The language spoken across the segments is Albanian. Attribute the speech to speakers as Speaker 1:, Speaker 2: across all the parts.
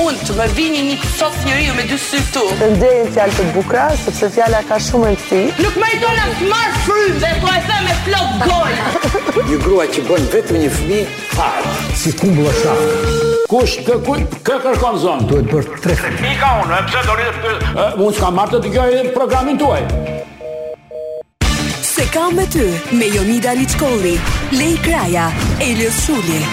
Speaker 1: unë të më vini një sof njeriu me dy sy këtu.
Speaker 2: Të ndjejnë fjalë të bukura, sepse fjala ka shumë rëndësi.
Speaker 1: Nuk më jeton as marr frymë dhe po e them me plot gojë.
Speaker 3: Një grua që bën vetëm një fëmijë fare.
Speaker 4: si kumbulla shafë.
Speaker 5: Kush kë kë kë kërkon zonë?
Speaker 4: Duhet bërë tre fëmijë.
Speaker 5: Mi ka unë, e pse do rritë për... Unë s'kam marrë të dëgjoj programin tuaj.
Speaker 6: Se kam me ty me Jonida Liçkolli, Lej Kraja, Elios Shuli.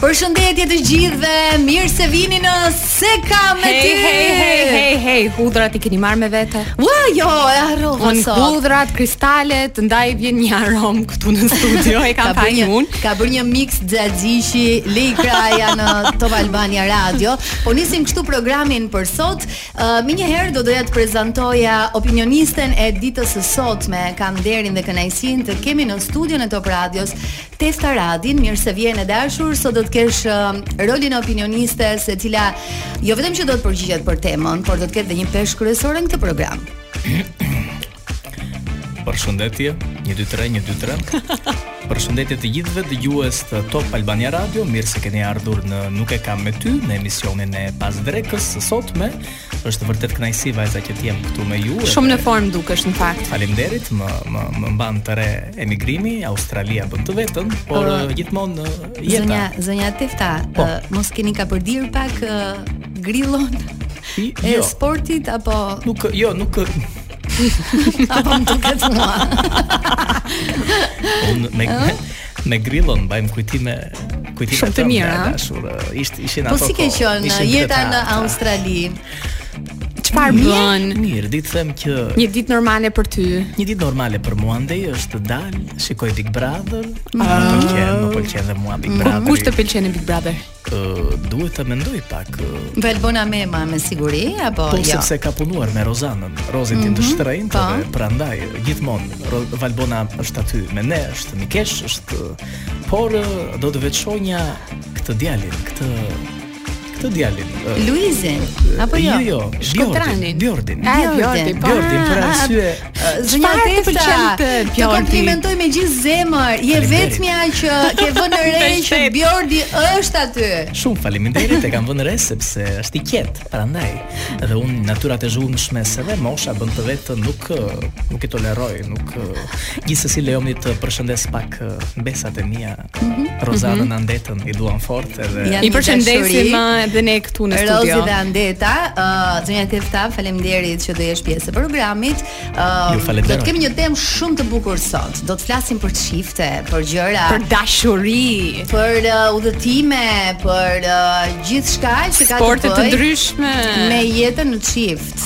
Speaker 7: Përshëndetje të gjithë dhe mirë se vini në Se ka me
Speaker 8: Hej,
Speaker 7: ty.
Speaker 8: hej, hej, hej, hej, hudrat i keni marrë me vete.
Speaker 7: Ua, jo, e harrova
Speaker 8: Unë
Speaker 7: sot.
Speaker 8: hudrat, kristalet, ndaj vjen një arom këtu në studio, e kam
Speaker 7: bërë
Speaker 8: thënë
Speaker 7: një,
Speaker 8: unë.
Speaker 7: ka bërë një mix xhaxhishi, Lej Kraja në Top Albania Radio. Po nisim kështu programin për sot. Uh, më njëherë do doja të prezantoja opinionisten e ditës së sotme. Kam nderin dhe kënaqësinë të kemi në studion e Top Radios Tefta Radin. Mirë se vjen e dashur. Sot do të kesh uh, rolin e opinionistes e cila jo vetëm që do të përgjigjet për temën, por do të ketë dhe një peshë kryesore në këtë program.
Speaker 9: Përshëndetje, 1 2 3 1 2 3. Përshëndetje të gjithëve dëgjues të Top Albania Radio. Mirë se keni ardhur në Nuk e kam me ty në emisionin e pas drekës së sotme. Është vërtet kënaqësi vajza që të jem këtu me ju. edhe
Speaker 8: Shumë në formë dukesh në fakt.
Speaker 9: Faleminderit, më më më mban të re emigrimi, Australia bën të vetën, por
Speaker 7: Ë,
Speaker 9: uh, gjithmonë uh, jeta.
Speaker 7: Zonja, zonja Tefta,
Speaker 9: Po.
Speaker 7: ë, mos keni ka përdir pak ë, grillon
Speaker 9: I-
Speaker 7: e
Speaker 9: jo,
Speaker 7: sportit apo
Speaker 9: nuk jo, nuk
Speaker 7: apo më duket mua.
Speaker 9: unë me me grillon mbajm kujtime kujtime
Speaker 8: Shumë të
Speaker 9: tënde,
Speaker 8: mira,
Speaker 9: e
Speaker 8: ha?
Speaker 9: dashur. ë, Isht ishin
Speaker 7: Po
Speaker 9: ato.
Speaker 7: si ke
Speaker 9: kohë,
Speaker 7: qenë
Speaker 9: ishin
Speaker 7: jeta
Speaker 9: vërtet
Speaker 7: në
Speaker 9: ato.
Speaker 7: Australi?
Speaker 8: Çfarë bën?
Speaker 9: Mirë, ditë them që
Speaker 8: Një ditë normale për ty.
Speaker 9: Një ditë normale për mua ndej është të dal, shikoj Big Brother, më pëlqen, më pëlqen dhe mua Big
Speaker 8: Po
Speaker 9: Brother.
Speaker 8: kush të pëlqen në Big Brother?
Speaker 9: duhet të mendoj pak. ë,
Speaker 7: Valbona Mema me siguri apo
Speaker 9: Po
Speaker 7: jo?
Speaker 9: sepse ka punuar me Rozanën, Rozin tim të shtrenjtë,
Speaker 7: po.
Speaker 9: dhe prandaj gjithmonë Ro- Valbona është aty me ne, është mikesh, është por ë, do të veçonja këtë djalin, këtë këtë djalin. ë,
Speaker 7: Luizin apo jo?
Speaker 9: Jo, jo, Bjordin,
Speaker 8: Shkotranin.
Speaker 9: Bjordin.
Speaker 8: E,
Speaker 7: Bjordi.
Speaker 8: Bjordi, po.
Speaker 9: Bjordin për
Speaker 7: Ah,
Speaker 9: arsye
Speaker 7: Ë, Zonja
Speaker 8: Çfarë të
Speaker 7: Tefta,
Speaker 8: pëlqen të
Speaker 7: të
Speaker 8: Bjordi?
Speaker 7: komplimentoj me gjithë zemër. Je
Speaker 9: Faleminderit.
Speaker 7: vetmja që ke vënë në re
Speaker 8: Të
Speaker 7: që
Speaker 8: shtet.
Speaker 7: Bjordi është aty.
Speaker 9: Shumë faleminderit, e kam vënë re sepse është i qet, prandaj. Dhe unë natyrat e zhurmshme se dhe mosha bën të vetë nuk ë, nuk i toleroj, nuk ë, gjithsesi lejoni të përshëndes pak ë, mbesat e mia.
Speaker 8: Mhm,
Speaker 9: Rozanën Andetën i duam fort edhe
Speaker 7: Ja.
Speaker 8: I
Speaker 7: Një dashuri.
Speaker 8: përshëndesim ë, ah, edhe ne këtu në
Speaker 7: Rozi
Speaker 8: studio.
Speaker 7: dhe Andeta, uh, zonja Tefta, faleminderit që do jesh pjesë e programit. Uh,
Speaker 9: Ju falenderoj.
Speaker 7: do të kemi një temë shumë të bukur sot. Do të flasim për çifte, për gjëra,
Speaker 8: Për dashuri,
Speaker 7: për uh, udhëtime, për uh, gjithçka që ka
Speaker 8: sporte
Speaker 7: të
Speaker 8: të
Speaker 7: bëjë
Speaker 8: ndryshme.
Speaker 7: me jetën në çift.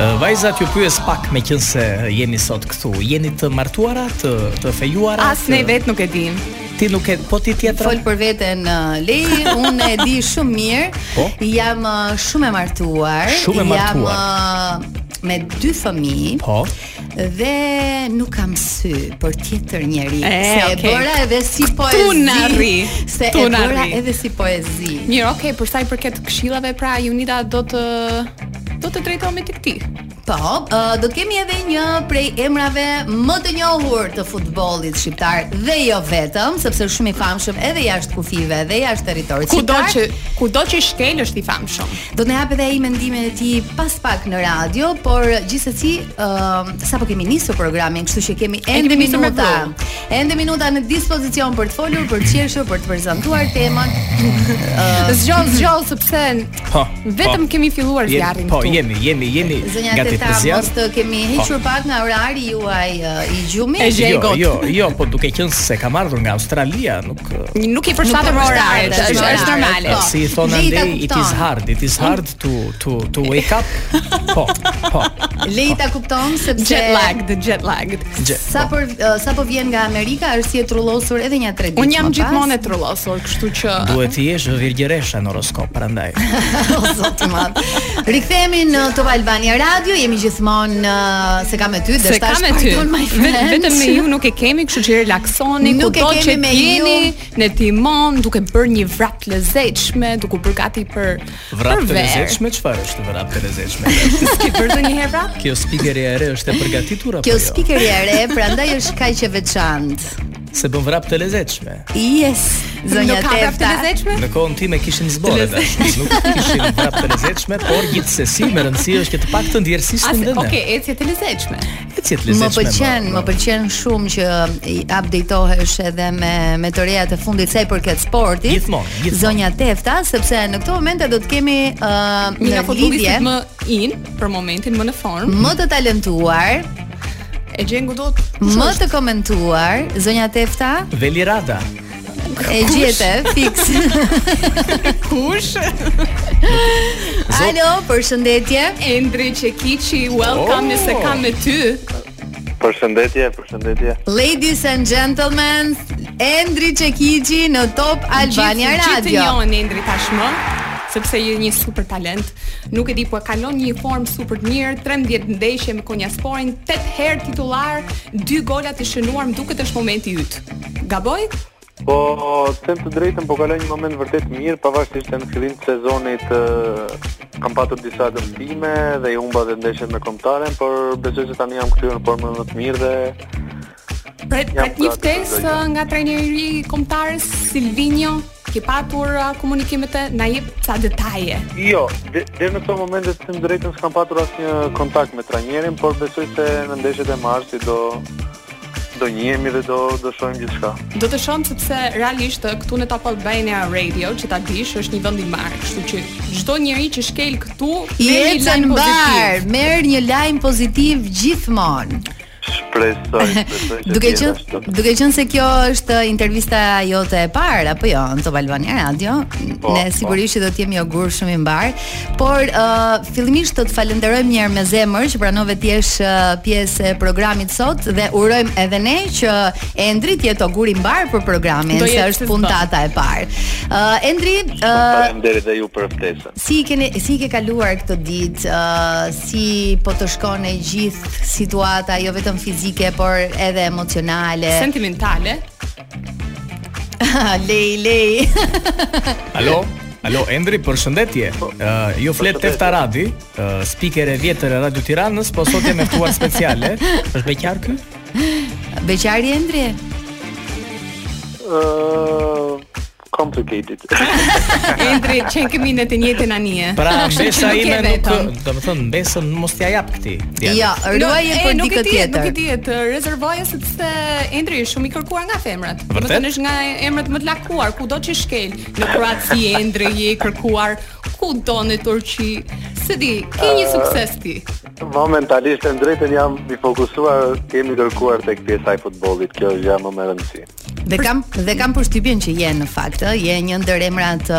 Speaker 9: Ë, Vajzat ju pyes pak me qënë se jeni sot këtu. Jeni të martuara, të të fejuara?
Speaker 8: As
Speaker 9: të-
Speaker 8: ne vetë nuk e dim.
Speaker 9: Ti nuk e po ti tjetra?
Speaker 7: Fol për veten uh, Lei, unë e di shumë mirë.
Speaker 9: Po?
Speaker 7: Jam uh, shumë e martuar.
Speaker 9: Shumë e martuar.
Speaker 7: Jam uh, me dy fëmijë.
Speaker 9: Po.
Speaker 7: dhe nuk kam sy për tjetër njerëz.
Speaker 8: E,
Speaker 7: Se e
Speaker 8: okay.
Speaker 7: bëra edhe si poezi.
Speaker 8: na rri,
Speaker 7: Se
Speaker 8: tu
Speaker 7: e
Speaker 8: na
Speaker 7: bëra
Speaker 8: rri.
Speaker 7: edhe si poezi.
Speaker 8: Mirë, okay, për sa i përket këshillave, pra Junida do të do të drejtohemi tek ti.
Speaker 7: Po, ë, do kemi edhe një prej emrave më të njohur të futbollit shqiptar dhe jo vetëm, sepse është shumë i famshëm edhe jashtë kufive dhe jashtë territorit
Speaker 8: Kudo
Speaker 7: shqiptar.
Speaker 8: që kudo që shkel është i famshëm.
Speaker 7: Do të na jap edhe ai mendimin e tij pas pak në radio, por gjithsesi ë sapo kemi nisur programin, kështu që kemi ende
Speaker 8: kemi nisur me
Speaker 7: minuta.
Speaker 8: blu.
Speaker 7: Ende minuta në dispozicion për të folur, për të qeshur, për të prezantuar temën.
Speaker 8: Zgjol, zgjol sepse
Speaker 9: Po.
Speaker 8: vetëm
Speaker 9: po.
Speaker 8: kemi filluar
Speaker 9: Jemi-
Speaker 8: zjarrin
Speaker 9: Po,
Speaker 8: këtu.
Speaker 9: jemi, jemi, jemi
Speaker 7: Zonja
Speaker 9: gati
Speaker 7: Teta,
Speaker 9: për zjarr. Po.
Speaker 7: mos të kemi hequr pak nga orari juaj ë, i gjumit.
Speaker 8: E gjej
Speaker 9: Jo,
Speaker 8: got.
Speaker 9: jo, jo, po duke qenë se kam ardhur nga Australia, nuk uh,
Speaker 8: Nuk i përshtatëm
Speaker 7: Nuk i
Speaker 8: oraret,
Speaker 7: përshtatet,
Speaker 8: është është
Speaker 7: oraret,
Speaker 8: normale.
Speaker 7: po.
Speaker 9: si i thon
Speaker 7: Lita
Speaker 9: andej, it is
Speaker 7: kupton.
Speaker 9: hard, it is hard to to to wake up. Po, po.
Speaker 7: Lejta kupton sepse
Speaker 8: Jet lag, the jet lag.
Speaker 9: Gje,
Speaker 7: Sa për ë, sa po vjen nga Amerika, është si e trullosur edhe një tre ditë.
Speaker 8: Un jam
Speaker 7: më pas.
Speaker 8: gjithmonë e trullosur, kështu që
Speaker 9: Duhet të jesh virgjeresha në horoskop, prandaj.
Speaker 7: O zot i madh. Rikthehemi në Top Albania Radio, jemi gjithmonë ë, se kam me ty,
Speaker 8: se
Speaker 7: dashtash
Speaker 8: kam me ty.
Speaker 7: my
Speaker 8: Vet-
Speaker 7: friends.
Speaker 8: Vetëm me ju nuk e kemi, kështu që relaksoni,
Speaker 7: Nuk e
Speaker 8: kudo
Speaker 7: kemi
Speaker 8: që
Speaker 7: me
Speaker 8: jeni,
Speaker 7: ju.
Speaker 8: ne timon, duke bërë një vrap të lezetshme, duke u bërë gati për
Speaker 9: Vrap
Speaker 8: për
Speaker 9: të
Speaker 8: verë.
Speaker 9: lezetshme, çfarë është vrap të lezetshme?
Speaker 8: Ke bërë ndonjëherë vrap?
Speaker 9: Kjo speakerja e re është e përgatitur apo
Speaker 7: Kjo
Speaker 9: jo?
Speaker 7: speaker e re, prandaj është kaq e veçantë.
Speaker 9: se bën vrap të lezetshme.
Speaker 7: Yes,
Speaker 8: Nuk
Speaker 7: zonja
Speaker 8: ka prapë të
Speaker 7: Tefta.
Speaker 8: lezetshme?
Speaker 9: Në kohën time kishin zbore dash, nuk kishin vrap të lezetshme, por gjithsesi me rëndësi është që të paktën djersisnin
Speaker 8: As,
Speaker 9: dhe ne.
Speaker 8: okay, ecje të lezetshme.
Speaker 9: Ecjet
Speaker 7: Më
Speaker 9: lezetshme.
Speaker 7: pëlqen, më
Speaker 9: po.
Speaker 7: pëlqen shumë që i updatetohesh edhe me me të rejat e fundit sa i përket sportit.
Speaker 9: Gjithmonë, gjithmonë.
Speaker 7: Zonja Tefta, sepse në këto momente do të kemi uh,
Speaker 8: Një nga
Speaker 7: në
Speaker 8: futbollistit më in për momentin, më në formë,
Speaker 7: më të talentuar,
Speaker 8: e gjen kudo.
Speaker 7: më të komentuar, zonja Tefta
Speaker 9: Veli Rada.
Speaker 7: e gjete fiks.
Speaker 8: Kush?
Speaker 7: Alo, përshëndetje.
Speaker 8: Endri Çekiçi, welcome
Speaker 9: Oh.
Speaker 8: nëse kam me ty.
Speaker 10: Përshëndetje, përshëndetje.
Speaker 7: Ladies and gentlemen, Endri Çekiçi në Top Albania
Speaker 8: Gjithë- Gjithë
Speaker 7: Radio.
Speaker 8: e njohin Endri tashmë sepse je një super talent. Nuk e di po e kalon një formë super të mirë, 13 ndeshje me Konjasporin, 8 herë titullar, 2 gola të shënuar, më duket është momenti yt. Gaboj?
Speaker 10: Po, të them të drejtën, po kaloj një moment vërtet mirë, pavarësisht se në fillim të sezonit ë, kam patur disa dëmtime dhe i humba dhe ndeshjet me kombëtaren, por besoj se tani jam kthyer në formën më të mirë dhe
Speaker 8: Pret,
Speaker 10: Jam
Speaker 8: pret një
Speaker 10: gati,
Speaker 8: ftesë
Speaker 10: gati.
Speaker 8: uh, nga trajneri i kombëtarës Silvinho, ke patur uh, komunikimet e na jep ca detaje.
Speaker 10: jo, de- deri në këto momente të them të drejtën s'kam patur asnjë kontakt me trajnerin, por besoj se në ndeshjet e marsit do do njihemi dhe do do shohim gjithçka.
Speaker 8: Do të shohim sepse realisht ë, këtu në Top Albania Radio, që ta dish, është një vend i marrë, kështu që çdo njeri që shkel këtu
Speaker 7: I
Speaker 8: merr një
Speaker 7: ecën
Speaker 8: lajm
Speaker 7: mbar,
Speaker 8: pozitiv.
Speaker 7: merr një lajm pozitiv gjithmonë.
Speaker 10: Shpresoj, shpresoj që
Speaker 7: Duke
Speaker 10: tjetë ashtu.
Speaker 7: qenë uh, duke qenë se kjo është intervista jote e parë apo jo në Top Albania Radio,
Speaker 10: Po,
Speaker 7: ne
Speaker 10: po.
Speaker 7: sigurisht që do të jemi një gur shumë i mbar, por uh, fillimisht do të falenderojmë një herë me zemër që pranove të jesh uh, pjesë e programit sot dhe urojmë edhe ne që Endri të jetë gur i mbar për programin,
Speaker 8: Do
Speaker 7: se
Speaker 8: jetë
Speaker 7: është
Speaker 8: si
Speaker 7: puntata e parë. Uh, Endri, uh,
Speaker 10: Faleminderit dhe ju për ftesën.
Speaker 7: Si i keni si i ke kaluar këtë ditë? ë, si po të shkon e gjithë situata, jo vetëm fizike, por edhe emocionale?
Speaker 8: sentimentale.
Speaker 7: lej, lej.
Speaker 9: Alo. Alo Endri, përshëndetje. Uh, ju flet
Speaker 10: Përshëndetje.
Speaker 9: Tefta Radi, uh, speaker e vjetër e Radio Tiranës, po sot jam e ftuar speciale. Është beqar ky?
Speaker 7: Beqari Endri.
Speaker 10: Uh, complicated.
Speaker 8: Endri, që në kemi në të njëjtën anije.
Speaker 9: Pra
Speaker 8: Kështu që
Speaker 9: mbesa
Speaker 8: nuk je
Speaker 9: ime nuk,
Speaker 8: vetëm.
Speaker 9: domethënë mbesën mos t'ia jap këtij.
Speaker 7: Jo, ruaje
Speaker 8: e,
Speaker 7: për
Speaker 8: nuk e
Speaker 7: dikë
Speaker 8: di, Nuk e
Speaker 7: tjetër.
Speaker 8: diet, rezervoje sepse Endri është shumë i kërkuar nga femrat.
Speaker 9: Vërtet?
Speaker 8: Domethënë është nga emrat më të lakuar, kudo që shkel. Në Kroaci Endri je i kërkuar, kudo në Turqi. Se di, ke një sukses ti.
Speaker 10: Momentalisht e drejtën jam i fokusuar, jemi kërkuar tek pjesa e futbollit, kjo është gjë më e rëndësishme. Po,
Speaker 7: Dhe kam dhe kam përshtypjen që je në fakt, ë, je një ndër emrat ë,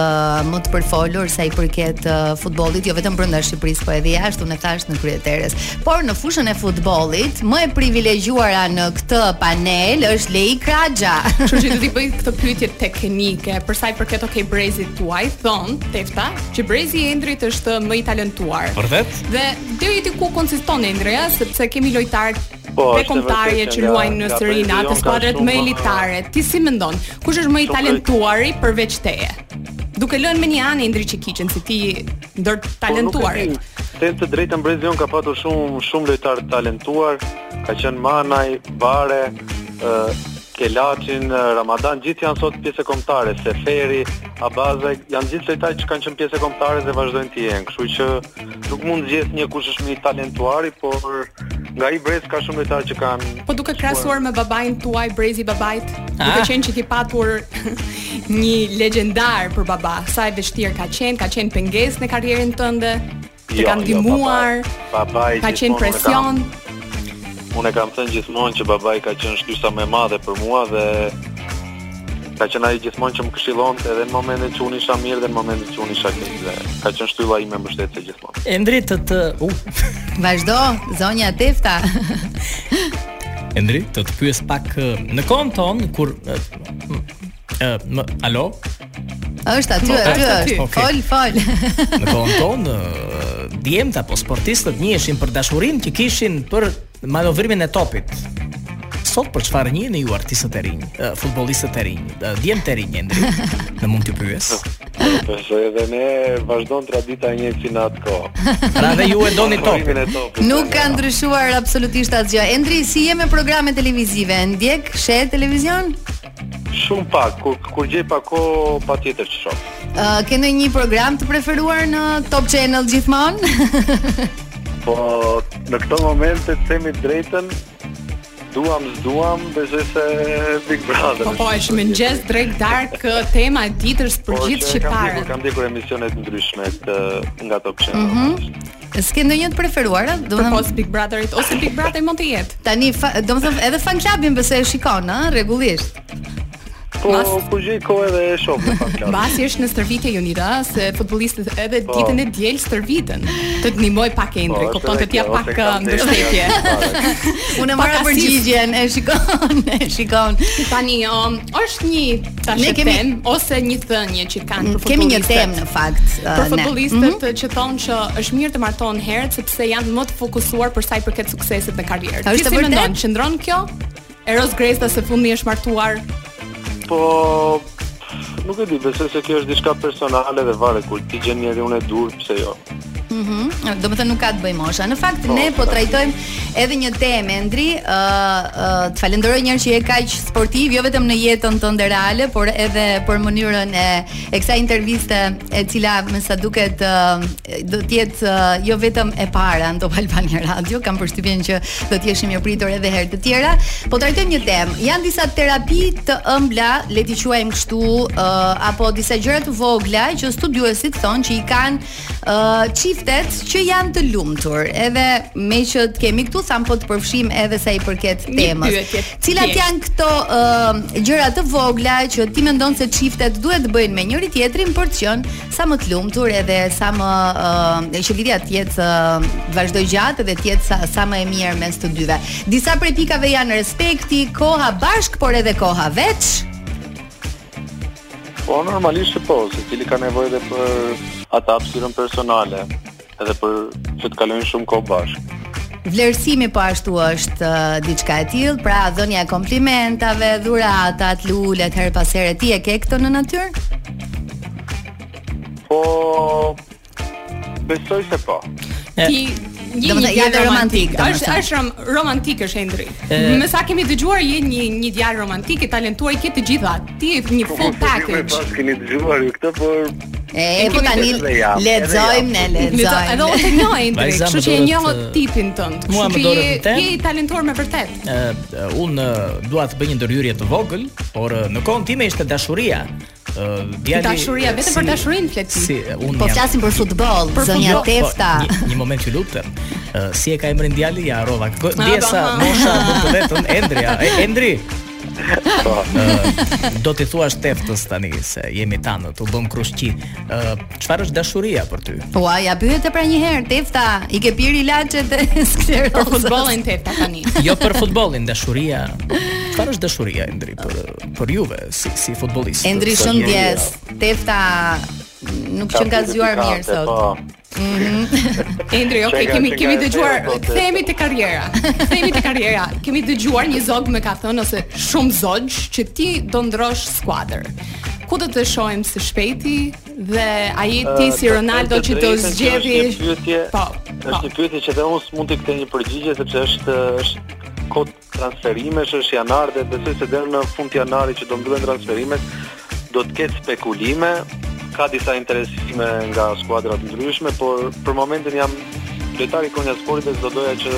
Speaker 7: më të përfolur sa i përket ë, futbollit, jo vetëm brenda Shqipërisë, po edhe jashtë, unë e thash në kryeterës. Por në fushën e futbollit, më e privilegjuara në këtë panel është Lei Kraxha.
Speaker 8: Kështu që do t'i bëj këtë pyetje teknike. Për sa i përket okay brezit tuaj, thon Tefta që brezi i Endrit është më i talentuar.
Speaker 9: Vërtet?
Speaker 8: Dhe deri diku konsiston Endri, ë, sepse kemi lojtar
Speaker 10: Po,
Speaker 8: dhe
Speaker 10: është e
Speaker 8: kombëtarje
Speaker 10: vërtetë që
Speaker 8: që
Speaker 10: nga-
Speaker 8: luajnë në
Speaker 10: nga
Speaker 8: Serie A
Speaker 10: brezi
Speaker 8: të
Speaker 10: jon ka
Speaker 8: skuadrat më
Speaker 10: shumë,
Speaker 8: elitare. Ti si mendon, kush është më i
Speaker 10: shumë
Speaker 8: talentuari përveç teje? Duke lënë me një anë Endri Çekiçin se ti
Speaker 10: Po,
Speaker 8: ndër talentuarit.
Speaker 10: Tem të drejtën Brezion ka patur shumë shumë lojtar të talentuar, ka qenë Manaj, Bare, ë Kelaçin, ë, Ramadan, gjithë janë sot pjesë kombëtare, Seferi, Abaza, janë gjithë lojtarë që kanë qenë pjesë kombëtare dhe vazhdojnë të jenë. Kështu që nuk mund zgjedh një kush është më i talentuari, por nga i Brez ka shumë lojtarë që kanë
Speaker 8: Po duke krahasuar me babain tuaj, brezi i babait, duke
Speaker 9: Ah.
Speaker 8: qenë që ki patur një legjendar për baba, sa e vështirë ka qenë, ka qenë pengesë në karrierën tënde, të
Speaker 10: Jo,
Speaker 8: ka
Speaker 10: jo,
Speaker 8: ndihmuar,
Speaker 10: babai- babai
Speaker 8: ka
Speaker 10: gjithmonë unë
Speaker 8: qenë presion.
Speaker 10: Unë e kam thënë gjithmonë që babai ka qenë shkysa më e madhe për mua dhe ka qenë ai gjithmonë që më këshillonte edhe në momentet që unë isha mirë dhe në momentet që unë isha keq. Dhe ka qenë shtylla ime mbështetëse gjithmonë.
Speaker 9: Endri të të u
Speaker 7: Vazhdo, zonja Tefta.
Speaker 9: Endri të të pyes pak ë, në kohën tonë kur ë, m- ë, më alo
Speaker 7: është aty, aty
Speaker 9: Po,
Speaker 8: është
Speaker 7: është.
Speaker 8: aty.
Speaker 9: Okej.
Speaker 7: Fol, fol.
Speaker 9: në kohën tonë ë, djemt apo sportistët njiheshin për dashurinë që kishin për manovrimin e topit. sot për çfarë njiheni ju artistët e rinj, ë, futbollistët e rinj, ë, djemtë e rinj Endri? Në mund t'ju pyes.
Speaker 10: Besoj edhe ne vazhdon tradita e një finat kohë.
Speaker 9: Pra dhe ju e doni topin.
Speaker 10: Favorimin e topit.
Speaker 7: Nuk ka ndryshuar absolutisht asgjë. Endri, si je me programe televizive? Ndjek, sheh televizion?
Speaker 10: Shumë pak, kur, kur gjej pak kohë, patjetër që shoh.
Speaker 7: Uh, ke ndonjë program të preferuar në Top Channel gjithmonë?
Speaker 10: Po në këto momente të themi të drejtën, duam s'duam, besoj se Big Brother.
Speaker 8: Po po, është mëngjes drejt dark ë, tema e ditës për
Speaker 10: Po,
Speaker 8: gjithë
Speaker 10: që Kam
Speaker 8: shqiptarët.
Speaker 10: ndjekur, kam ndjekur emisione të ndryshme të nga Top Channel. Mm
Speaker 8: Mhm.
Speaker 7: S'ke ndonjë të preferuar? Do të
Speaker 8: Përpos
Speaker 7: them
Speaker 8: Big Brotherit ose Big Brother mund të jetë.
Speaker 7: tani, fa, do të them edhe fan klubin besoj e shikon, ëh, rregullisht.
Speaker 10: Po
Speaker 8: Mas-
Speaker 10: kur gjej kohë edhe e shoh në pak klasë.
Speaker 8: Basi është në stërvitje Jonida, se futbollistët edhe
Speaker 10: Po.
Speaker 8: ditën e diel stërviten. Të të ndihmoj pak Endri, kupton të t'ja pak uh, ë, mbështetje.
Speaker 7: Unë e
Speaker 8: Pak
Speaker 7: marra
Speaker 8: asist.
Speaker 7: përgjigjen, e shikon, e shikon.
Speaker 8: Tani um, është një tash
Speaker 7: Ne
Speaker 8: e
Speaker 7: kemi- Mm,
Speaker 8: temë ose një thënie që kanë për
Speaker 7: Kemi një
Speaker 8: futbollistët.
Speaker 7: temë në fakt. ë,
Speaker 8: Për
Speaker 7: ne. Mhm.
Speaker 8: futbollistët që thonë që është mirë të martohen herët sepse janë më të fokusuar për sa i përket suksesit në karrierë.
Speaker 7: A është e
Speaker 8: si
Speaker 7: vërtet?
Speaker 8: mendon, qëndron kjo? Eros Gresta së fundmi është martuar.
Speaker 10: Po nuk e di, besoj se kjo është diçka personale dhe varet kur ti gjen njeriu në dur, pse jo.
Speaker 7: Mhm. Do të thënë nuk ka të bëj mosha. Në fakt ne po trajtojmë edhe një temë Endri, ë ë, të falenderoj një herë që je kaq sportiv, jo vetëm në jetën tënde reale, por edhe për mënyrën e e kësaj interviste e cila me sa duket ë, do të jetë ë, jo vetëm e para në Top Albania Radio, kam përshtypjen që do të jeshim mirë pritur edhe herë të tjera. Po trajtojmë një temë. Janë disa terapi të ëmbla, le t'i quajmë kështu, ë, apo disa gjëra të vogla që studiuesit thonë që i kanë uh, çiftet që janë të lumtur. Edhe me që të kemi këtu tham po të përfshim edhe sa i përket
Speaker 8: Një
Speaker 7: temës.
Speaker 8: pyetje
Speaker 7: Cilat
Speaker 8: thjesht.
Speaker 7: janë këto ë gjëra të vogla që ti mendon se çiftet duhet të bëjnë me njëri tjetrin për të qenë sa më të lumtur edhe sa më ë që lidhja të jetë ë, vazhdoj gjatë dhe të jetë sa, sa më e mirë mes të dyve. Disa prej pikave janë respekti, koha bashk, por edhe koha veç.
Speaker 10: Po normalisht që po, se cili ka nevojë edhe për atë hapësirën personale, edhe për që të kalojnë shumë kohë bashkë.
Speaker 7: Vlerësimi po ashtu është ë, diçka e tillë, pra dhënia e komplimentave, dhuratat, lulet her pas here ti e ke këto në natyrë?
Speaker 10: Po besoj se po.
Speaker 9: E.
Speaker 8: Ti Je
Speaker 7: Do
Speaker 8: një
Speaker 7: të thënë,
Speaker 8: djalë
Speaker 7: jave romantik,
Speaker 8: romantik.
Speaker 7: do të
Speaker 8: Është
Speaker 7: thënë.
Speaker 8: është rom, romantik është Endri.
Speaker 9: E-
Speaker 8: Me sa kemi dëgjuar je një një djalë romantik i talentuar, i ke të gjitha. Ti je një full package.
Speaker 10: keni dëgjuar ju këtë, por
Speaker 7: E,
Speaker 8: E
Speaker 7: po
Speaker 8: kemi
Speaker 7: tani
Speaker 10: edhe jam, edhe
Speaker 7: lexojmë ne
Speaker 8: Me të- Edhe unë
Speaker 7: lexojmë.
Speaker 8: të njoh Endri,
Speaker 9: Vajza,
Speaker 8: kështu
Speaker 9: më
Speaker 8: që e
Speaker 9: dorët,
Speaker 8: njoh
Speaker 9: ë,
Speaker 8: tipin tënd.
Speaker 9: mua
Speaker 8: Kështu
Speaker 9: më
Speaker 8: që
Speaker 9: dorët
Speaker 8: je-
Speaker 9: në tem.
Speaker 8: je i talentuar me vërtet.
Speaker 9: Uh, unë uh, dua të bëj një ndërhyrje të vogël, por uh, në kohën time ishte dashuria. Uh, djali
Speaker 8: Dashuria, vetëm për dashurinë flet ti.
Speaker 9: Si uh, unë
Speaker 7: Po
Speaker 9: jam-
Speaker 7: flasim për futboll,
Speaker 8: Për
Speaker 7: zonja
Speaker 9: Jo, po,
Speaker 7: Tefta.
Speaker 9: Një, një moment ju lutem. Uh, si e ka emrin djali? Ja harrova. Kë-
Speaker 8: Ah,
Speaker 9: Pjesa
Speaker 8: po, ha.
Speaker 9: mosha do të vetën Endria. E, Endri.
Speaker 10: po.
Speaker 9: Uh, do t'i thuash teftës tani se jemi tanë, u bëm krushqi. Uh, Çfarë është dashuria për ty?
Speaker 8: Po,
Speaker 7: Ua, ja pyet pra një herë Tefta, i ke pirë ilaçet e
Speaker 8: Për
Speaker 7: sklerozës?
Speaker 8: futbollin tepta tani.
Speaker 9: Jo për futbollin, dashuria. Çfarë është dashuria Endri për për juve si si futbollist?
Speaker 7: Endri
Speaker 9: Sa
Speaker 7: shumë
Speaker 9: jeni-
Speaker 7: ndjes. Tefta nuk qen ka zgjuar mirë
Speaker 10: pikante,
Speaker 7: sot.
Speaker 10: Po.
Speaker 8: Endri, okay,
Speaker 10: Çeka-
Speaker 8: kemi
Speaker 10: çeka
Speaker 8: kemi
Speaker 10: e
Speaker 8: dëgjuar.
Speaker 10: thera, po, te-
Speaker 8: Kthehemi te karriera. Kthehemi te karriera. Kemi dëgjuar një zog më ka thënë ose shumë zogj që ti do ndrosh skuadër. Ku do të shohim së shpejti dhe a je ti si
Speaker 10: Ë,
Speaker 8: Ronaldo
Speaker 10: të
Speaker 8: që do
Speaker 10: drejtën
Speaker 8: zgjedhë?
Speaker 10: është një pyetje-
Speaker 8: Po. po.
Speaker 10: Është një pyetje që dhe unë s'mund të kthej një përgjigje sepse është është kod transferimesh është janar dhe besoj se deri në fund të janarit që do mbyllen transferimet do të ketë spekulime, ka disa interesime nga skuadra të ndryshme, por për momentin jam lojtari i Konja Sporit dhe do doja që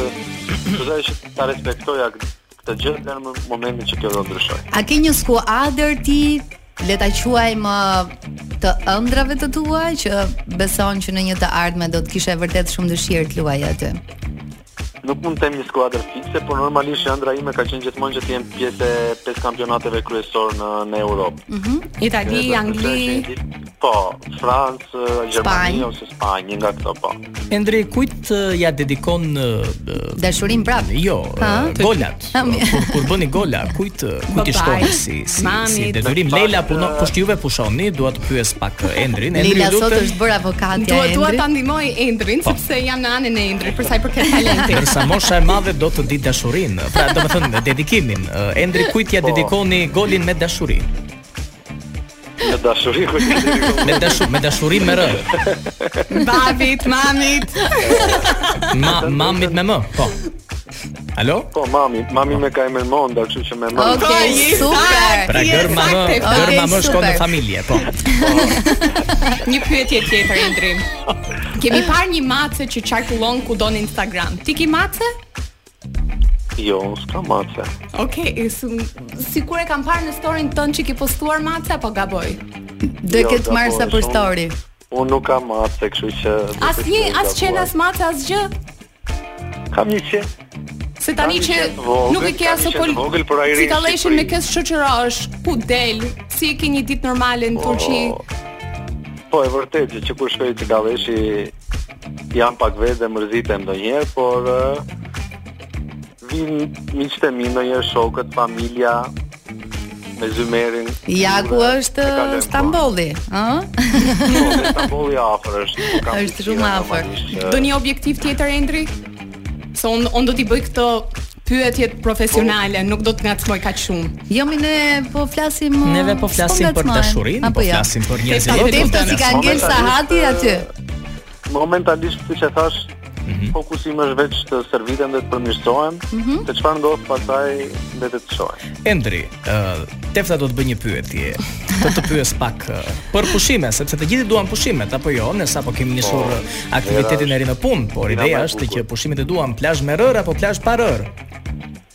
Speaker 10: do doja që ta respektoja këtë gjë deri në momentin që kjo do ndryshoj.
Speaker 7: A ke një skuadër ti le ta quajmë ë, të ëndrave të tua që beson që në një të ardhme do të kishe vërtet shumë dëshirë të luajë aty.
Speaker 10: Nuk mund të them një skuadër fikse, por normalisht ëndra ime ka qenë gjithmonë që të jem pjesë e pesë kampionateve kryesor në në Europë.
Speaker 8: Itali, Angli,
Speaker 10: Po, Francë, Gjermani
Speaker 7: Spanjë.
Speaker 10: ose Spanjë, nga këto po.
Speaker 9: Endri, kujt eh, ja dedikon eh, eh,
Speaker 7: Dashurim prap.
Speaker 9: Jo,
Speaker 7: Ha?
Speaker 9: eh, golat.
Speaker 7: Ha, mi-
Speaker 9: Kur, kur bëni gola, kujt eh, kujt i
Speaker 8: Babait,
Speaker 9: shkon si si, si
Speaker 8: mamit.
Speaker 9: detyrim
Speaker 10: Pak,
Speaker 9: Leila puno,
Speaker 10: eh,
Speaker 9: po juve pushoni, dua të pyes pak eh, Endrin. Endri
Speaker 7: Lila sot
Speaker 9: lutem.
Speaker 7: është bërë avokatja
Speaker 8: Dua
Speaker 7: e
Speaker 8: dua ta
Speaker 7: Endrit.
Speaker 8: ndihmoj Endrin sepse jam në anën e Endrit për sa i përket talentit.
Speaker 9: Ndërsa mosha e madhe do të di dashurinë. Pra, domethënë dedikimin. Eh, Endri kujt ja
Speaker 10: Po.
Speaker 9: dedikoni golin me dashuri?
Speaker 10: Në dashuri ku ti dedikon.
Speaker 9: Me dashuri, me dashuri me r.
Speaker 8: Babit, mamit.
Speaker 9: Ma, mamit me m. Po. Alo?
Speaker 10: Po, mami, mami me ka emër Monda, kështu që me mami.
Speaker 7: Okej, super.
Speaker 9: Pra
Speaker 8: Je
Speaker 9: gërma më,
Speaker 8: saktë,
Speaker 7: Okej,
Speaker 9: gërma më shkon në
Speaker 7: super.
Speaker 9: familje, po.
Speaker 8: Një pyetje tjetër Endrim. Kemi parë një mace që çarkullon kudo në Instagram. Ti ke mace?
Speaker 10: Jo, s'ka mace.
Speaker 8: Okej, okay, sikur e kam parë në storyn tënë që ke postuar mace apo gaboj?
Speaker 7: Do e
Speaker 10: Jo,
Speaker 7: ketë marrë sa
Speaker 10: gaboj,
Speaker 7: për
Speaker 10: shumë.
Speaker 7: story.
Speaker 10: Unë nuk kam mace, kështu që...
Speaker 8: Asnjë, as qen, as mace, as gjë.
Speaker 10: Kam një qen.
Speaker 8: Se tani
Speaker 10: Kam një
Speaker 8: që
Speaker 10: qen të vogël,
Speaker 8: nuk e ke
Speaker 10: kam
Speaker 8: as
Speaker 10: një qen të vogël, por ai rri
Speaker 8: Si
Speaker 10: në
Speaker 8: kalleshin me
Speaker 10: Shqipëri.
Speaker 8: kes shoqërosh, ku del? Si e ke një ditë normale në Turqi?
Speaker 10: Po, e vërtet që kur shkoj të Galleshi jam pak vetë dhe mërzitem ndonjëherë, por uh, vin miqtë e mi ndonjëherë shokët, familja me zymerin.
Speaker 7: Ja ku
Speaker 10: kultura,
Speaker 7: është eh,
Speaker 10: e kalojmë, po.
Speaker 7: Stambolli, ë?
Speaker 10: Po, dhe Stambolli afër është. po, kam
Speaker 7: Është
Speaker 10: vështirë
Speaker 7: shumë afër.
Speaker 10: normalisht,
Speaker 8: Do
Speaker 10: eh,
Speaker 8: një objektiv tjetër Endri? Se unë on do t'i bëj këto pyetjet profesionale,
Speaker 7: Po.
Speaker 8: nuk do të ngacmoj kaq shumë.
Speaker 7: Jo mi ne po flasim ë,
Speaker 9: Neve po flasim
Speaker 7: s'po
Speaker 9: për
Speaker 7: ngacmojmë.
Speaker 9: dashurinë,
Speaker 7: Apo
Speaker 9: po
Speaker 7: jo?
Speaker 9: flasim për njerëzit.
Speaker 8: Tepta-
Speaker 9: po
Speaker 7: Defto
Speaker 9: flasim-
Speaker 7: si ka ngel
Speaker 10: momentalisht,
Speaker 7: sahati
Speaker 10: eh,
Speaker 7: aty.
Speaker 10: Momentalisht siç e thash, fokusimi është veç të servitem dhe të përmirësohem,
Speaker 7: Mhm.
Speaker 10: të çfarë ndodh pastaj mbetet të shohim.
Speaker 9: Endri, uh, Tefta do të bëj një pyetje. Të të pyes pak uh, për pushime, sepse të gjithë duan pushimet apo jo, ne sapo kemi nisur
Speaker 10: Po,
Speaker 9: uh, aktivitetin e ri në punë, por
Speaker 10: Era
Speaker 9: ideja
Speaker 10: e
Speaker 9: është
Speaker 10: bukur.
Speaker 9: që pushimet e duan plazh me rër apo plazh pa rër.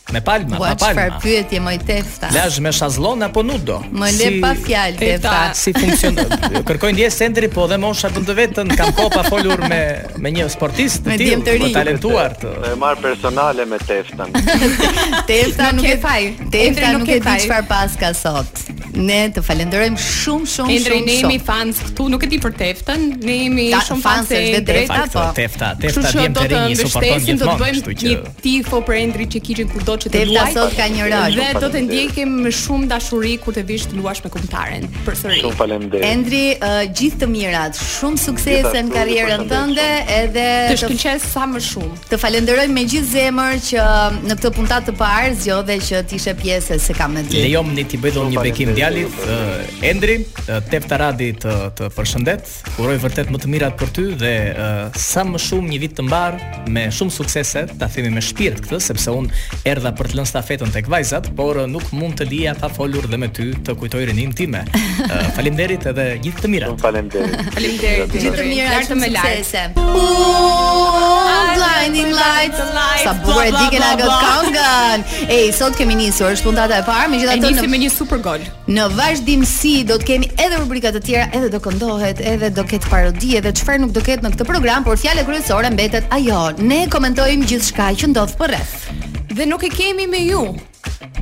Speaker 9: Me palma,
Speaker 7: Ua
Speaker 9: pa
Speaker 7: çfarë
Speaker 9: palma.
Speaker 7: pyetje moj Tefta.
Speaker 9: Plazh me shazlon apo nudo?
Speaker 7: Më le pa fjalë
Speaker 8: Tefta.
Speaker 7: Tefta.
Speaker 9: si funksionon? Kërkoj ndjes Endri, po dhe mosha për të vetën kam kohë pa folur me me një sportist
Speaker 7: Me
Speaker 9: të
Speaker 7: djemë të
Speaker 9: tillë,
Speaker 7: rinj.
Speaker 9: po talentuar të.
Speaker 10: E marr personale me teftën.
Speaker 7: Tefta
Speaker 8: Nuk
Speaker 7: nuk e
Speaker 8: e faj. Endri
Speaker 7: Tefta
Speaker 8: nuk
Speaker 7: nuk
Speaker 8: e
Speaker 7: e di
Speaker 8: faj.
Speaker 7: çfarë paska sot. Ne të falenderojmë shumë shumë
Speaker 8: Endri ne
Speaker 7: shumë
Speaker 8: jemi
Speaker 7: shumë.
Speaker 8: fans këtu, nuk e di për teftën, ne jemi
Speaker 7: Ta-
Speaker 8: shumë
Speaker 7: fans
Speaker 8: fans e
Speaker 7: është dhe
Speaker 8: Endrit.
Speaker 7: Tefta, po.
Speaker 9: Tefta,
Speaker 8: Kështu
Speaker 9: Tefta
Speaker 8: që
Speaker 9: djemë
Speaker 8: do
Speaker 9: të
Speaker 8: të
Speaker 9: rinj i supporton
Speaker 8: mbështesim, do të
Speaker 9: gjithmonë,
Speaker 8: bëjmë
Speaker 9: kështu
Speaker 8: një
Speaker 9: që
Speaker 8: tifo për Endri që kishin kudo që të
Speaker 7: Tefta
Speaker 8: luaj.
Speaker 7: sot Ah, ka një rol.
Speaker 8: Dhe do të
Speaker 10: Faleminderit.
Speaker 8: ndjekim me shumë dashuri kur të vish të luash me kombëtaren. Përsëri.
Speaker 10: Shumë faleminderit.
Speaker 7: Endri, uh, gjithë të mirat, shumë suksese
Speaker 10: Gjithashtu,
Speaker 7: në karrierën
Speaker 10: ju
Speaker 7: tënde edhe
Speaker 8: Të
Speaker 7: të,
Speaker 8: shkëlqes sa më shumë.
Speaker 7: të falenderoj me gjithë zemër që në këtë puntat të parë zgjodhe që të ishe pjesë se kam me ty.
Speaker 9: Lejom ne ti bëj dhon një
Speaker 10: Shumë
Speaker 9: bekim
Speaker 10: faleminderit,
Speaker 9: djalit eh, Endri, eh, Tefta Radi të të përshëndet. Uroj vërtet më të mirat për ty dhe eh, sa më shumë një vit të mbar me shumë suksese, ta themi me shpirt këtë sepse un erdha për të lënë stafetën tek vajzat, por eh, nuk mund të lija pa folur dhe me ty të kujtoj rinin time. Eh, Faleminderit edhe gjithë të mirat.
Speaker 10: Shumë faleminderit.
Speaker 8: Faleminderit.
Speaker 7: Gjithë të mirat,
Speaker 8: Lartë
Speaker 7: shumë
Speaker 8: me lartë.
Speaker 7: suksese. Oh, blinding lights.
Speaker 8: lights,
Speaker 7: Sa bukur
Speaker 8: bla,
Speaker 7: e
Speaker 8: bla,
Speaker 7: diken
Speaker 8: bla,
Speaker 7: ajo
Speaker 8: bla.
Speaker 7: këngën. Ej, sot kemi nisur, është puntata e parë,
Speaker 8: E
Speaker 7: megjithatë
Speaker 8: nisi
Speaker 7: në
Speaker 8: me një super gol.
Speaker 7: Në vazhdimsi do të kemi edhe rubrika të tjera, edhe do këndohet, edhe do ketë parodi, edhe çfarë nuk do ketë në këtë program, por fjala kryesore mbetet ajo. Ne komentojmë gjithçka që ndodh përreth.
Speaker 8: Dhe nuk e kemi me ju.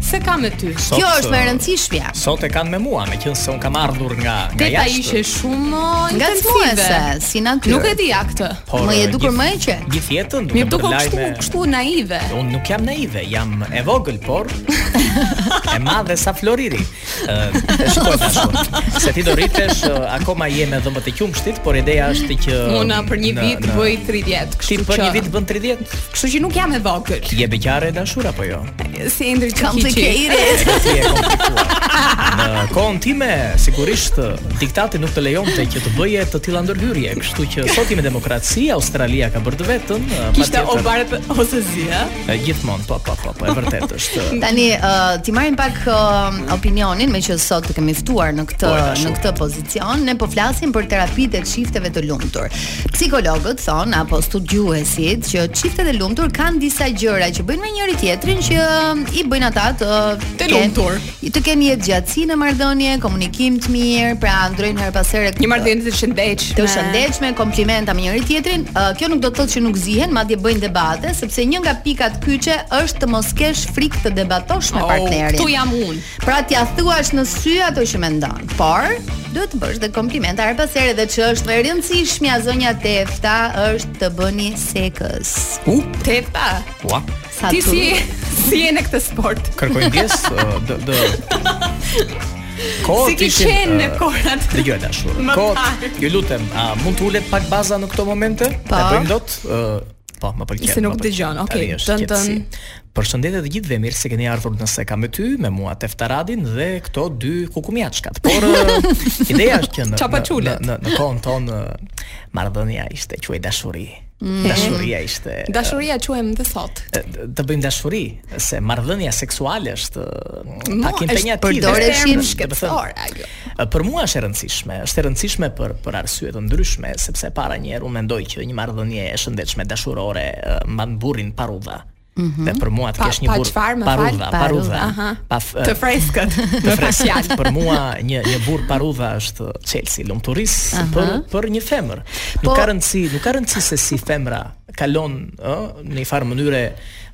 Speaker 8: Se ka me ty.
Speaker 9: Sot,
Speaker 7: Kjo është më e
Speaker 9: eh,
Speaker 7: rëndësishmja.
Speaker 9: Sot e kanë me mua, me qënë se unë kam ardhur nga, nga
Speaker 8: Teta
Speaker 9: jashtë.
Speaker 8: ishe shumë uh,
Speaker 7: Nga
Speaker 8: intensive.
Speaker 7: cmuese, si natyrë.
Speaker 8: Nuk e di ja këtë.
Speaker 9: por,
Speaker 7: Më je
Speaker 9: eh,
Speaker 7: dukur
Speaker 9: gjith-
Speaker 7: më e që?
Speaker 9: Gjithë jetën duke
Speaker 8: Mi duko
Speaker 9: përlaj
Speaker 8: kështu,
Speaker 9: me-
Speaker 8: kështu naive.
Speaker 9: Unë nuk jam naive, jam e vogël, por e madhe sa floriri. Ë, shkoj bashkë. Se ti do rritesh, ë, akoma je me dhëmbët e qumshtit, por ideja është që
Speaker 8: Unë për një
Speaker 9: në-
Speaker 8: vit
Speaker 9: në-
Speaker 8: bëj 30,
Speaker 9: Ti
Speaker 8: kështu
Speaker 9: për
Speaker 8: që
Speaker 9: një vit bën 30?
Speaker 8: kështu që nuk jam e vogël.
Speaker 9: Je beqare e dashur apo jo?
Speaker 8: Si Endri Çikiçi.
Speaker 7: Complicated.
Speaker 9: Edhe ti e komplikuar. Në kohën time, sigurisht ë, diktati nuk të lejonte që të bëje të tilla ndërhyrje, kështu që sot jemi demokraci, Australia ka bërë të vetën, ë,
Speaker 8: Kishte
Speaker 9: patjetër.
Speaker 8: o barët ose zi, a?
Speaker 9: Ë, Gjithmonë, po, po, po, po, e vërtet është. ë,
Speaker 7: Tani uh, ti marrim pak uh, opinionin me që sot të kemi ftuar në këtë
Speaker 9: Po, e dashur.
Speaker 7: në këtë pozicion, ne po flasim për terapitë e çifteve të lumtur. Psikologët thonë apo studiuesit që çiftet e lumtur kanë disa gjëra që bëjnë me njëri tjetrin që um, i bëjnë ata të
Speaker 8: Të
Speaker 7: kenë-
Speaker 8: lumtur.
Speaker 7: Të kenë jetë gjatësi në marrëdhënie, komunikim të mirë, pra ndrojnë her pas here
Speaker 8: Një marrëdhënie të shëndetshme.
Speaker 7: të shëndetshme, komplimenta me njëri tjetrin. Ë, kjo nuk do të thotë që nuk zihen, madje bëjnë debate, sepse një nga pikat kyçe është të mos kesh frikë të debatosh me
Speaker 8: Oh,
Speaker 7: partnerin.
Speaker 8: Këtu jam unë.
Speaker 7: Pra t'ia thuash në sy ato që mendon, por duhet të bësh dhe kompliment her pas here dhe që është e rëndësishmja zonja Tefta është të bëni sekës.
Speaker 9: U,
Speaker 8: Tefta,
Speaker 9: ua.
Speaker 7: Sa
Speaker 8: ti
Speaker 7: tu-
Speaker 8: si si je në këtë sport?
Speaker 9: Kërkoj ndjes ë, dë dë Ko
Speaker 8: Si ki
Speaker 9: ti që-
Speaker 8: qenë në
Speaker 9: Po, ë,
Speaker 8: korat?
Speaker 9: Dëgjoj dashur.
Speaker 8: Më
Speaker 9: Ko,
Speaker 8: parë.
Speaker 9: ju lutem, a mund të ulet pak baza në këto momente?
Speaker 7: Po.
Speaker 9: E bëjmë dot? ë, Po, më pëlqen.
Speaker 8: Se nuk
Speaker 9: më pëlqen.
Speaker 8: dëgjon, okay,
Speaker 9: Tani është
Speaker 8: tën, tën.
Speaker 9: qetësi. Përshëndetje të gjithëve, mirë se keni ardhur nëse kam me ty, me mua Teftaradin dhe këto dy kukumjaçkat. Por ë, ideja është që në në,
Speaker 8: Çapaçulet.
Speaker 9: në, në kohën tonë ë, marrëdhënia ishte quaj dashuri.
Speaker 8: Mm.
Speaker 9: Dashuria ishte ë,
Speaker 8: Dashuria quhem dhe sot.
Speaker 9: të bëjmë dashuri se marrëdhënia seksuale është mm,
Speaker 8: Mua
Speaker 9: pak
Speaker 8: është
Speaker 9: impenjative.
Speaker 7: përdoreshim
Speaker 9: Term
Speaker 8: shkepsor,
Speaker 9: do të
Speaker 8: ajo.
Speaker 9: thënë, Për mua është e rëndësishme, është e rëndësishme për për arsye të ndryshme, sepse para një herë unë mendoj që një marrëdhënie e shëndetshme dashurore eh, mban burrin parudha. Dhe për mua
Speaker 8: Mhm.
Speaker 9: të
Speaker 8: Pa-
Speaker 9: kesh një
Speaker 8: pa
Speaker 9: burr
Speaker 8: çfarë, më fal?
Speaker 9: parudha, parudha.
Speaker 8: Aha.
Speaker 9: Pa f-
Speaker 8: Të freskët.
Speaker 9: Të freskët. Për mua një një burr parudha është Chelsea, lumturis për për një femër. Nuk
Speaker 7: Po-
Speaker 9: ka rëndësi, nuk ka rëndësi se si femra kalon ë në një farë mënyre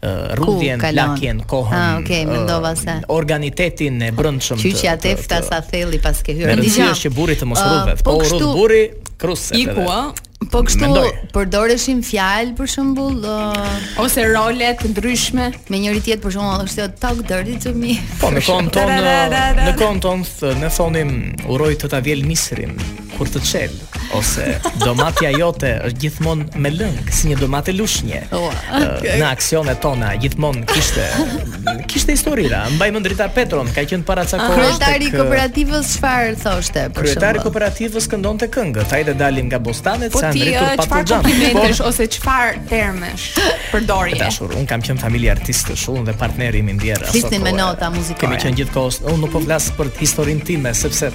Speaker 9: ë, rrudhjen,
Speaker 7: kalon?
Speaker 9: lakjen, kohën.
Speaker 7: Ah, okay,
Speaker 9: ë,
Speaker 7: mendova se.
Speaker 9: Organitetin e brendshëm. të-
Speaker 7: Qyqja
Speaker 9: të-
Speaker 7: Tefta
Speaker 9: të-
Speaker 7: sa thelli pas ke hyrë.
Speaker 9: Me rëndësi
Speaker 7: Ndigjam.
Speaker 9: është që burri të mos
Speaker 7: Ë,
Speaker 9: rrudhet. Po,
Speaker 7: po
Speaker 9: u rrudh
Speaker 7: kështu-
Speaker 9: burri, krusë.
Speaker 8: Iku, ë?
Speaker 7: Po kështu
Speaker 9: Mendoj.
Speaker 7: përdoreshin fjalë për shembull ë,
Speaker 8: Ose role të ndryshme.
Speaker 7: me njëri tjetër për shembull është jo talk dirty to me.
Speaker 9: Po në kohën tonë,
Speaker 8: Tarararara.
Speaker 9: në kohën tonë th- ne thonim uroj të ta vjel misrin kur të çel ose domatja jote është gjithmonë me lëng si një domate lushnje.
Speaker 7: Ua.
Speaker 9: Ë, Në aksionet tona gjithmonë kishte kishte historira. Mbaj mend Dritar Petron, ka qenë para
Speaker 8: Ah.
Speaker 9: ca kohë.
Speaker 7: Kryetari i kooperativës çfarë thoshte për
Speaker 9: Kryetari
Speaker 7: shembull?
Speaker 9: kooperativës këndonte këngët. Hajde dalim nga bostanet,
Speaker 8: Po
Speaker 9: sa
Speaker 8: ti
Speaker 9: ndritur
Speaker 8: ë, çfarë
Speaker 9: patlıcan.
Speaker 8: komplimentesh
Speaker 9: Po.
Speaker 8: ose çfarë termesh
Speaker 9: E
Speaker 8: përdorje?
Speaker 9: dashur, un kam qenë familje artistësh, un dhe partneri im i ndjer. aso
Speaker 7: Flisnin me
Speaker 9: kohë.
Speaker 7: nota muzikore.
Speaker 9: Kemi qenë gjithkohës, un nuk po flas për historinë time sepse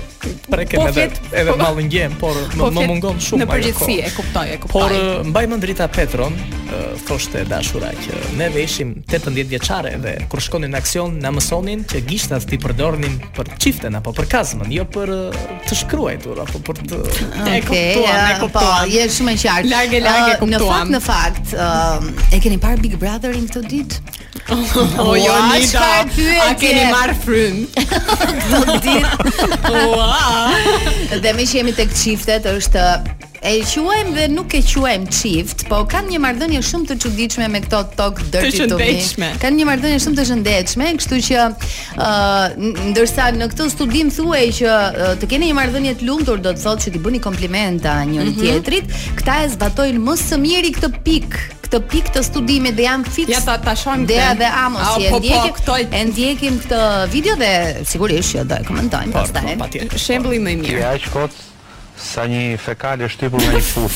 Speaker 9: prekem
Speaker 8: Po
Speaker 9: edhe
Speaker 8: flet-
Speaker 9: edhe
Speaker 8: po-
Speaker 9: mallë ngjem, por më,
Speaker 8: Po
Speaker 9: më
Speaker 8: flet
Speaker 9: mungon shumë
Speaker 8: Në
Speaker 9: ajo
Speaker 8: përgjithësi
Speaker 9: kohë.
Speaker 8: e kuptoj, e kuptoj.
Speaker 9: Por eh, mbaj mend Rita Petron, eh, thoshte e dashura që neve ishim 18 vjeçare dhe kur shkonin në aksion na mësonin që gishtat ti përdornin për çiften apo për kazmën, jo për eh, të shkruajtur apo për të
Speaker 8: E kuptuam, e
Speaker 7: ja,
Speaker 8: kuptuam.
Speaker 7: Po, je shumë e qartë.
Speaker 8: Larg e larg e
Speaker 7: Ë,
Speaker 8: kuptuam.
Speaker 7: Në fakt, në fakt, ë, e keni parë Big Brotherin këtë ditë?
Speaker 9: Po,
Speaker 8: O
Speaker 9: jo,
Speaker 7: Ua,
Speaker 8: Jonida,
Speaker 7: çfarë pyetje?
Speaker 8: a keni marr frym?
Speaker 7: Këtë ditë.
Speaker 8: Po, Ua!
Speaker 7: Dhe me që jemi tek çiftet është e quajmë dhe nuk e quajmë çift, po kanë një marrëdhënie shumë të çuditshme me këto tok dirty to me.
Speaker 8: shëndetshme.
Speaker 7: Kanë një marrëdhënie shumë të shëndetshme, kështu që ë n- ndërsa në këtë studim thuaj që ë, të keni një marrëdhënie të lumtur do të thotë që ti bëni komplimenta njëri
Speaker 8: Mhm.
Speaker 7: tjetrit, këta e zbatojnë më së miri këtë pikë këtë pikë të studimit dhe janë fix.
Speaker 8: Ja, ta- ta shohim
Speaker 7: Dea
Speaker 8: këtë.
Speaker 7: dhe Amos
Speaker 8: Au,
Speaker 7: si e
Speaker 8: po, po,
Speaker 7: ndjekin.
Speaker 8: këto-
Speaker 7: E ndjekim këtë video dhe sigurisht që do e komentojmë
Speaker 9: Por, po,
Speaker 7: pastaj.
Speaker 9: patjetër.
Speaker 8: Shembulli më i mirë.
Speaker 10: Ja aq kot sa një fekal e shtypur nga një fus.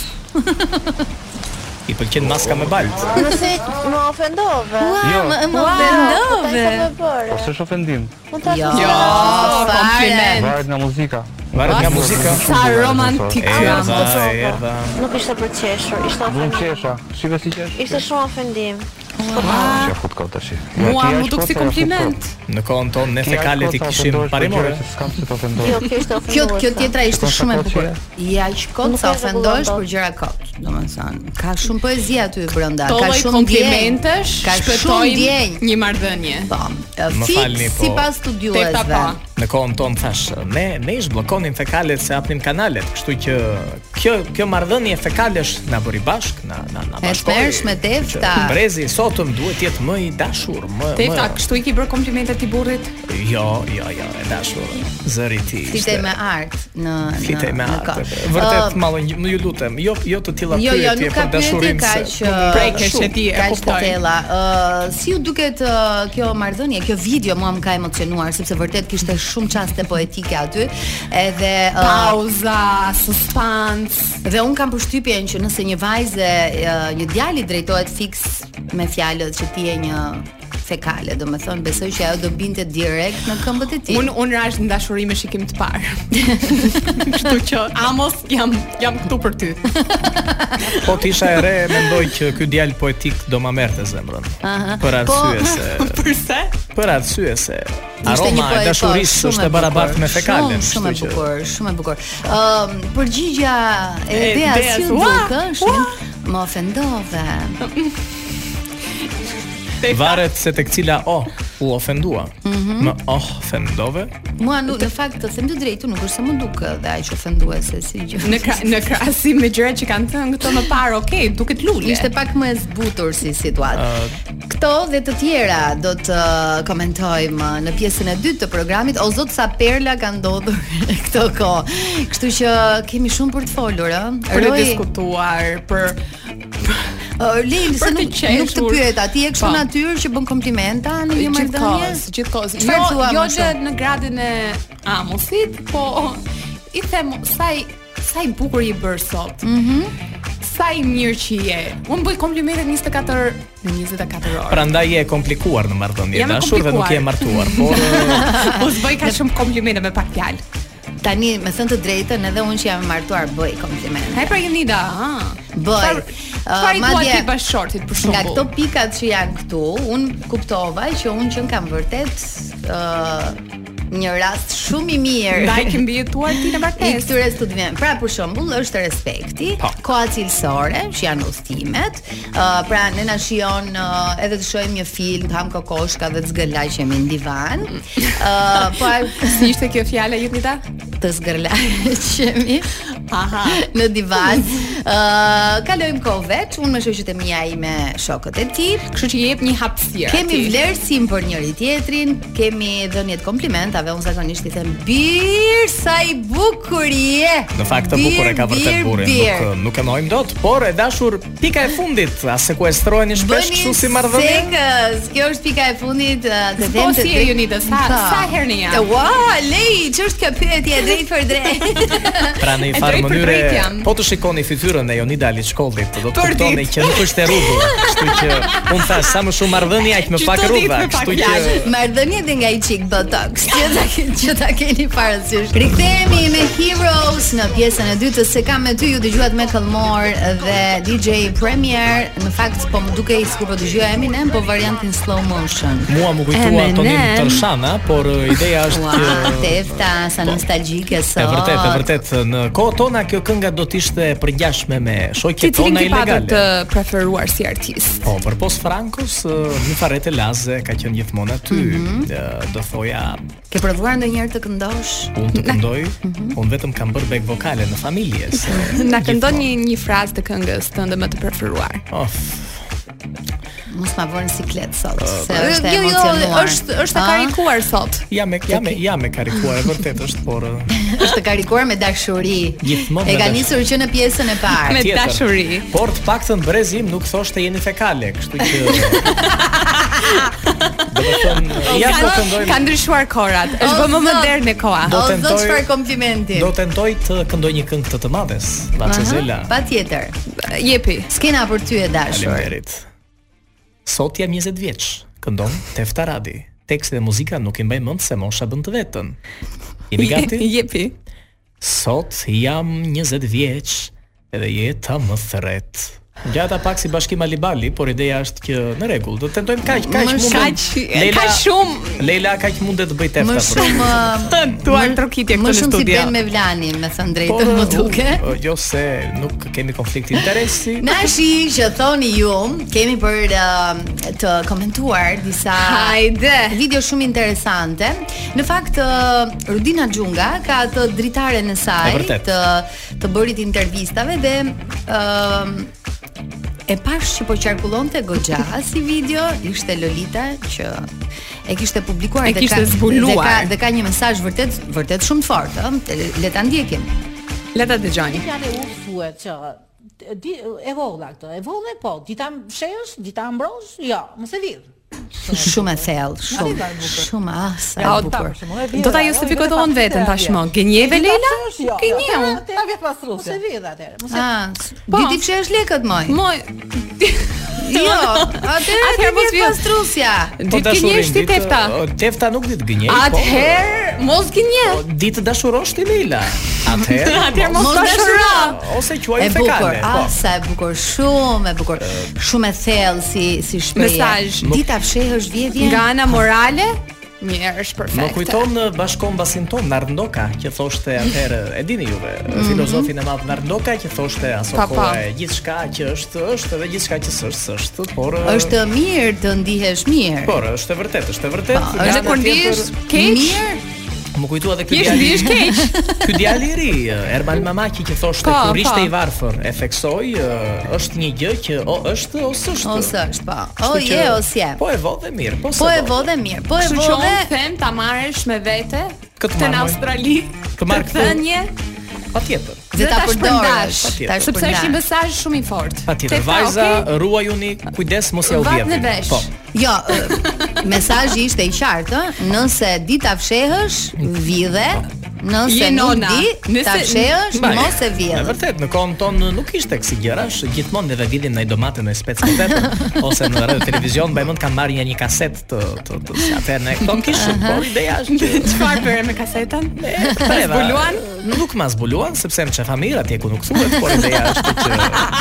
Speaker 9: I pëlqen maska me balt.
Speaker 11: Nëse më ofendove,
Speaker 7: Ua,
Speaker 10: Jo.
Speaker 7: më më
Speaker 8: Ua,
Speaker 7: vendove.
Speaker 11: më bërë.
Speaker 10: Ose është Po ofendim.
Speaker 11: Mund ta
Speaker 7: Jo,
Speaker 11: thuash.
Speaker 7: fare.
Speaker 8: kompliment.
Speaker 10: Varet nga muzika.
Speaker 9: Varet nga muzika.
Speaker 8: Sa romantik.
Speaker 9: Erdha,
Speaker 11: Kosova.
Speaker 8: po.
Speaker 9: erdha.
Speaker 11: Nuk ishte për të qeshur, ishte
Speaker 10: Unë
Speaker 11: ofendim.
Speaker 10: qesha. Shive si qesh.
Speaker 11: Ishte shumë ofendim.
Speaker 10: Qe fut kot tash.
Speaker 8: Mua më duk si kompliment.
Speaker 9: Në kohën tonë ne fekalet i kishim parimore.
Speaker 10: S'kam se të ofendoj.
Speaker 11: Jo, kjo ishte
Speaker 7: Kjo
Speaker 11: ofenduese.
Speaker 7: kjo tjetra ishte
Speaker 10: Shkon
Speaker 7: shumë e
Speaker 10: shakot
Speaker 7: bukur. Ja që kot
Speaker 11: Nuk
Speaker 7: sa
Speaker 11: e rregullon
Speaker 7: ofendosh
Speaker 11: dot.
Speaker 7: për gjëra kot, domethënë. Ka shumë poezi aty brenda,
Speaker 8: Ka
Speaker 7: ka shumë
Speaker 8: komplimentesh,
Speaker 7: djenjë, ka shumë
Speaker 8: shpëtojnë
Speaker 7: djenjë.
Speaker 8: një marrëdhënie.
Speaker 7: Po, e,
Speaker 9: Më falni,
Speaker 7: fix
Speaker 9: po.
Speaker 7: sipas
Speaker 8: Tepta
Speaker 7: studiuesve.
Speaker 8: pa.
Speaker 9: Në kohën tonë thash, ne ne ish bllokonin fekalet se hapnim kanalet, kështu që kjo kjo marrëdhënie fekalesh na bëri bashk, na na na
Speaker 7: E
Speaker 9: bashkoi.
Speaker 7: tmerrshme,
Speaker 9: Kështu që
Speaker 7: Tefta.
Speaker 9: Brezi sotëm duhet të jetë më i dashur, më
Speaker 8: Tefta,
Speaker 9: më
Speaker 8: kështu i ke bërë komplimentet i burrit?
Speaker 9: jo, jo, jo, e dashur. Zëri i ti.
Speaker 7: Flitej me art në në
Speaker 9: flitej me
Speaker 7: në
Speaker 9: atë.
Speaker 7: kot.
Speaker 9: Vërtet
Speaker 7: Ë,
Speaker 9: mallë, më ju lutem, jo jo të tilla
Speaker 7: Jo, jo, nuk ka
Speaker 9: për
Speaker 7: pyetje
Speaker 9: dashurinë.
Speaker 7: kaq
Speaker 9: se- po pra,
Speaker 7: ë,
Speaker 8: Prekesh e ti, e
Speaker 7: kaq të
Speaker 8: kuptoj.
Speaker 7: thella. Ë, uh, si ju duket ë, kjo marrëdhënie, kjo video mua më ka emocionuar sepse vërtet kishte shumë çaste poetike aty, edhe ë,
Speaker 8: Pauza, suspans.
Speaker 7: Dhe un kam përshtypjen që nëse një vajzë, e, një djalë i drejtohet fiks me fjalët që ti je një fekale, do me thonë, besoj që ajo do binte direkt në këmbët e ti.
Speaker 8: Un un rash në dashuri me shikim të parë. Kështu që Amos jam jam këtu për ty.
Speaker 9: Po të isha e re, mendoj që ky djalë poetik do ma merrte zemrën. Për arsye se
Speaker 8: Përse?
Speaker 9: për arsye se
Speaker 7: Po. Ishte një
Speaker 9: aroma
Speaker 7: poet,
Speaker 9: e
Speaker 7: po,
Speaker 9: dashurisë
Speaker 7: shumë e
Speaker 9: është e barabartë
Speaker 7: bukur,
Speaker 9: me fekalen.
Speaker 7: Shumë, shumë e
Speaker 9: kështu që-
Speaker 7: bukur, shumë e bukur. Ëm përgjigja e
Speaker 8: E
Speaker 7: Dea
Speaker 8: Deas,
Speaker 7: si u
Speaker 8: ua,
Speaker 7: duk ë, është
Speaker 8: ua.
Speaker 7: një- më ofendove.
Speaker 8: Tefta,
Speaker 9: Varet se tek cila o u ofendua.
Speaker 7: Mhm.
Speaker 9: Më ofendove?
Speaker 7: Mua nuk, në fakt të them të drejtë, nuk është se më duk dhe aq ofenduese si gjë.
Speaker 8: Në kra, në krahasim me gjërat që kanë thënë këto më parë, okay, duket lule.
Speaker 7: Ishte pak më e zbutur si situatë.
Speaker 8: Ah.
Speaker 7: Këto dhe të tjera do të ah, komentojmë në pjesën e dytë të programit. O zot sa perla ka ndodhur këto kohë. Kështu që kemi shumë për të folur, ah. ë.
Speaker 8: për të
Speaker 7: Roy,
Speaker 8: diskutuar, për
Speaker 7: Jo, ë, Lili, ah,
Speaker 8: për
Speaker 7: se
Speaker 8: të
Speaker 7: nuk, nuk të
Speaker 8: qeshur.
Speaker 7: pyet, ti je kështu
Speaker 8: Po.
Speaker 7: natyrë që bën komplimenta në një marrëdhënie?
Speaker 8: gjithkohës, gjithkohës. Jo,
Speaker 7: Çfarë thua
Speaker 8: jo
Speaker 7: më
Speaker 8: që
Speaker 7: shumë?
Speaker 8: në gradin e amusit, po i them sa i sa i bukur i bër sot. Mhm. sa i mirë që je. Unë bëj komplimentet 24 në 24 orë.
Speaker 9: Prandaj je e komplikuar në marrëdhënie,
Speaker 8: Jam e
Speaker 9: dashur dhe nuk je
Speaker 8: komplikuar.
Speaker 9: martuar, por
Speaker 8: Po s'bëj ka shumë komplimente me pak fjalë.
Speaker 7: Tani, me thënë të drejtën, edhe unë që jam e martuar bëj komplimente.
Speaker 8: Ai pra Jonida, ha.
Speaker 7: Bëj.
Speaker 8: Çfarë
Speaker 7: Ë,
Speaker 8: i thua
Speaker 7: uh, madje-
Speaker 8: ti bashortit për shembull?
Speaker 7: Nga këto pikat që janë këtu, un kuptova që un që kam vërtet ë një rast shumë i mirë.
Speaker 8: Ndaj ke mbijetuar ti në
Speaker 7: I
Speaker 8: martesë.
Speaker 7: këtyre studimeve. Pra për shembull është respekti,
Speaker 9: Po.
Speaker 7: koha cilësore, që janë udhëtimet. Ë pra ne na shijon ë, edhe të shohim një film, të ham kokoshka dhe të zgëlaqemi në divan. Ë po
Speaker 8: Si ishte kjo fjala Jonida?
Speaker 7: të zgërlaqemi aha në divan. Ë kalojmë kohë veç, unë me shoqet e mia ime, shokët e tij.
Speaker 8: Kështu që jep një hapësirë.
Speaker 7: Kemi
Speaker 8: atij.
Speaker 7: vlerësim për njëri tjetrin, kemi dhënjet komplimentave, unë zakonisht i them bir sa i bukur je.
Speaker 9: në fakt të bukur e ka vërtet burin, nuk uh, nuk e nojmë dot, por e dashur pika e fundit, a sekuestroheni shpesh kështu si marrëdhënie?
Speaker 7: Sekës, kjo është pika e fundit uh, të
Speaker 8: Po
Speaker 7: them të
Speaker 8: si e Jonida, sa- sa herë në javë?
Speaker 7: Ua, lej, ç'është kjo pyetje drejt për drejt.
Speaker 9: Pra në
Speaker 8: E
Speaker 9: një farë
Speaker 8: drejt për
Speaker 9: mënyre,
Speaker 8: drejt jam.
Speaker 9: po të shikoni fytyrën e Jonida Liçkollit, do të
Speaker 8: Për
Speaker 9: kuptoni
Speaker 8: ditë.
Speaker 9: që nuk është e rrugë, kështu që unë thash sa më shumë marrëdhënie aq më
Speaker 8: Çdo
Speaker 9: pak
Speaker 8: ditë
Speaker 9: rrudha,
Speaker 8: me pak
Speaker 9: kështu që
Speaker 8: fjalë.
Speaker 7: Marrëdhënie dhe nga i çik botox, që ta keni, që ta keni parasysh. Rikthehemi me Heroes në pjesën e dytë të se kam me ty ju dëgjuat me Kallmor dhe DJ Premier. Në fakt po më dukej sikur po dëgjoja Eminem, po variantin slow motion.
Speaker 9: mua më kujtua
Speaker 7: Eminem.
Speaker 9: Tonin Tërshana, por e, ideja është
Speaker 7: Ua,
Speaker 9: që-
Speaker 7: tefta, sa nostalgjike sot.
Speaker 9: E vërtet, e vërtet, në kohë tona kjo kënga do të ishte e përgjashme me
Speaker 8: Ti
Speaker 9: shoqet
Speaker 8: cilin
Speaker 9: tona
Speaker 8: ti patë
Speaker 9: ilegale.
Speaker 8: të preferuar si artist?
Speaker 9: Po, për pos Frankos, ë, një farete laze ka qenë gjithmonë aty.
Speaker 8: Mhm.
Speaker 9: Ë, Do thoja,
Speaker 7: Ke provuar ndonjëherë të këndosh?
Speaker 9: unë të këndoj,
Speaker 8: Mhm.
Speaker 9: unë vetëm kam bërë back vokale në familje. se
Speaker 8: Na këndon
Speaker 9: gjithmonë-
Speaker 8: një një frazë të këngës tënde më të preferuar.
Speaker 9: Of,
Speaker 7: Mos ma vërë në siklet sot,
Speaker 9: Po,
Speaker 7: se është e
Speaker 8: Jo, jo,
Speaker 7: emocionuar.
Speaker 8: është është e
Speaker 7: Ah,
Speaker 8: karikuar sot.
Speaker 9: jam e jam e jam e karikuar e vërtet është, por uh, ë,
Speaker 7: Është e karikuar me dashuri.
Speaker 9: Gjithmonë
Speaker 7: E
Speaker 9: me
Speaker 7: ka
Speaker 9: dashuri.
Speaker 7: nisur që në pjesën e parë.
Speaker 8: Me
Speaker 9: tjetër.
Speaker 8: dashuri.
Speaker 9: Por të paktën brezi im nuk thoshte jeni fekale, kështu që Do të thënë, ja po këndoj.
Speaker 8: Ka ndryshuar korat. Është
Speaker 7: O,
Speaker 8: bërë më
Speaker 7: zot.
Speaker 8: modern e koha.
Speaker 9: Do
Speaker 7: O,
Speaker 9: tentoj-
Speaker 7: zot çfarë komplimenti.
Speaker 9: Do tentoj të këndoj një këngë të të madhes, Bacezela.
Speaker 7: Patjetër.
Speaker 8: Jepi.
Speaker 7: Skena për ty e dashur.
Speaker 9: Faleminderit. Sot jam 20 vjeç, këndon Tefta Radi. Teksti dhe muzika nuk i mbaj mend se mosha bën të vetën. Jeni gati?
Speaker 8: Jepi.
Speaker 9: Sot jam 20 vjeç dhe jeta më thret. Gjata pak si bashkim Alibali, por ideja është që në rregull, do të tentojmë kaq kaq
Speaker 8: Më
Speaker 9: mundem-
Speaker 8: kaq, ka shumë
Speaker 9: Leila kaq mundet të bëj tefta.
Speaker 7: Më
Speaker 9: për
Speaker 7: shumë uh,
Speaker 8: të duar
Speaker 7: më-
Speaker 8: trokitje
Speaker 7: Më
Speaker 8: këtu në
Speaker 7: shumë si
Speaker 8: studio. Po,
Speaker 7: bën me Vlanin, me thënë
Speaker 9: Por,
Speaker 7: drejtën më duke.
Speaker 9: u- Po, Jo se nuk kemi konflikt interesi.
Speaker 7: Na shi që thoni ju, kemi për uh, të komentuar disa
Speaker 8: Hajde.
Speaker 7: video shumë interesante. Në fakt uh, Rudina Xhunga ka të dritaren e
Speaker 9: E
Speaker 7: saj
Speaker 9: vërtet.
Speaker 7: të të bërit intervistave dhe ëm e pash që po qarkullonte goxha si video, ishte Lolita që e kishte publikuar
Speaker 8: E kishte
Speaker 7: dhe ka
Speaker 8: zbuluar.
Speaker 7: dhe ka një mesazh vërtet vërtet shumë të fortë, ëh, le ta ndjekim.
Speaker 8: Le ta dëgjoni.
Speaker 12: Fjale ursuet që di, e vogla këto, e vogla po, dita shesh, dita mbrosh, jo, mos e lidh.
Speaker 7: Shumë e thellë, shumë.
Speaker 12: Arriva e bukur.
Speaker 7: Shumë ah, sa
Speaker 8: Ja,
Speaker 7: e
Speaker 8: o, ta-
Speaker 7: bukur.
Speaker 8: Do ta justifikodon veten tashmë. Gënjeve Leila? Gënjeu.
Speaker 12: Ta vjet pas rusë. Mos e lidh atëherë. Mos e
Speaker 7: Ah, diti pse është lekët moj?
Speaker 8: Moj.
Speaker 7: Jo, atëherë
Speaker 8: Atëherë mos vjen.
Speaker 7: pastrusja.
Speaker 9: Po,
Speaker 8: Ditë
Speaker 9: dashurin,
Speaker 8: gënjesh ti
Speaker 9: ditë-
Speaker 8: tefta.
Speaker 9: o, Tefta nuk ditë gënjej. po,
Speaker 8: Atëherë mos gënje.
Speaker 9: O, ditë dashurosh ti Leila. Atëherë. po.
Speaker 8: Atëherë mos
Speaker 7: Mos
Speaker 8: dashuro.
Speaker 7: dashuro.
Speaker 9: Ose quaj
Speaker 7: E bukur,
Speaker 9: fekale. po.
Speaker 7: ah, sa e bukur, shumë e bukur.
Speaker 9: Ehm.
Speaker 7: Shumë e thellë si si shprehje.
Speaker 8: Mesazh.
Speaker 7: Dita fshehësh vje vje.
Speaker 8: Nga ana morale Mirë, është
Speaker 9: Më
Speaker 8: perfekt.
Speaker 9: kujton uh, bashkon basin ton Narndoka që thoshte atëherë, e dini juve,
Speaker 8: Mhm.
Speaker 9: filozofin e madh Narndoka që thoshte aso
Speaker 7: Pa,
Speaker 9: koha
Speaker 7: pa.
Speaker 9: e gjithçka që është është dhe gjithçka që s'është s'është, por uh,
Speaker 7: Është mirë të ndihesh mirë.
Speaker 9: por është e vërtetë, është e vërtetë.
Speaker 7: Po,
Speaker 9: Nga
Speaker 7: është
Speaker 9: ana
Speaker 7: kur
Speaker 9: tjetër,
Speaker 7: ndihesh keq, mirë,
Speaker 9: Më kujtua edhe ky
Speaker 7: Thjesht
Speaker 9: djalë.
Speaker 7: ndihesh keq.
Speaker 9: Ky djalë i ri, Ermal Mamaki që thoshte
Speaker 7: Po,
Speaker 9: kur ishte
Speaker 7: po.
Speaker 9: i varfër, e theksoi uh, është një gjë që o është ose është.
Speaker 7: ose është po.
Speaker 9: Kështu
Speaker 7: O je
Speaker 9: që-
Speaker 7: ose je.
Speaker 9: Po e vodhe mirë, po
Speaker 7: Po
Speaker 9: se
Speaker 7: e
Speaker 9: vodhe.
Speaker 7: vodhe mirë. Po e
Speaker 8: Kështu që
Speaker 7: vodhe
Speaker 8: unë them ta marrësh me vete
Speaker 9: Këtë
Speaker 8: këtë në
Speaker 9: marr, moj.
Speaker 8: Australi.
Speaker 9: Të marr këtu.
Speaker 8: thënie
Speaker 9: Patjetër.
Speaker 8: dhe ta
Speaker 7: përdorësh.
Speaker 8: shpërndash.
Speaker 9: Patjetër.
Speaker 8: Sepse është një mesazh shumë i fortë.
Speaker 9: Patjetër,
Speaker 8: Te tha,
Speaker 9: vajza,
Speaker 8: okay?
Speaker 9: ruajuni, kujdes mos ja u Po.
Speaker 7: Vat
Speaker 9: vjedhni.
Speaker 7: në vesh. Jo, ë, mesazhi ishte i qartë, ë, nëse di ta fshehësh, vidhe, nëse
Speaker 8: Je
Speaker 7: nuk
Speaker 8: nona.
Speaker 7: di, ta
Speaker 8: Nëse-
Speaker 7: fshehësh,
Speaker 9: Mbaj.
Speaker 7: mos e
Speaker 9: Në
Speaker 7: vjedh.
Speaker 9: vërtet, në kohën tonë nuk ishte kësi gjërash, gjithmonë edhe vidhim ndaj domatën e specë të vetë, ose në radio televizion, mbaj mund kam marrë një një kaset të, të, të, të atëherë ne këto kishë,
Speaker 8: Aha.
Speaker 9: por ideja është që...
Speaker 8: Çfarë bëre me kasetën?
Speaker 9: Ta
Speaker 8: Ta
Speaker 9: eva,
Speaker 8: zbuluan?
Speaker 9: Nuk ma zbuluan, sepse më qefa mirë atje ku nuk thuhet, por ideja është që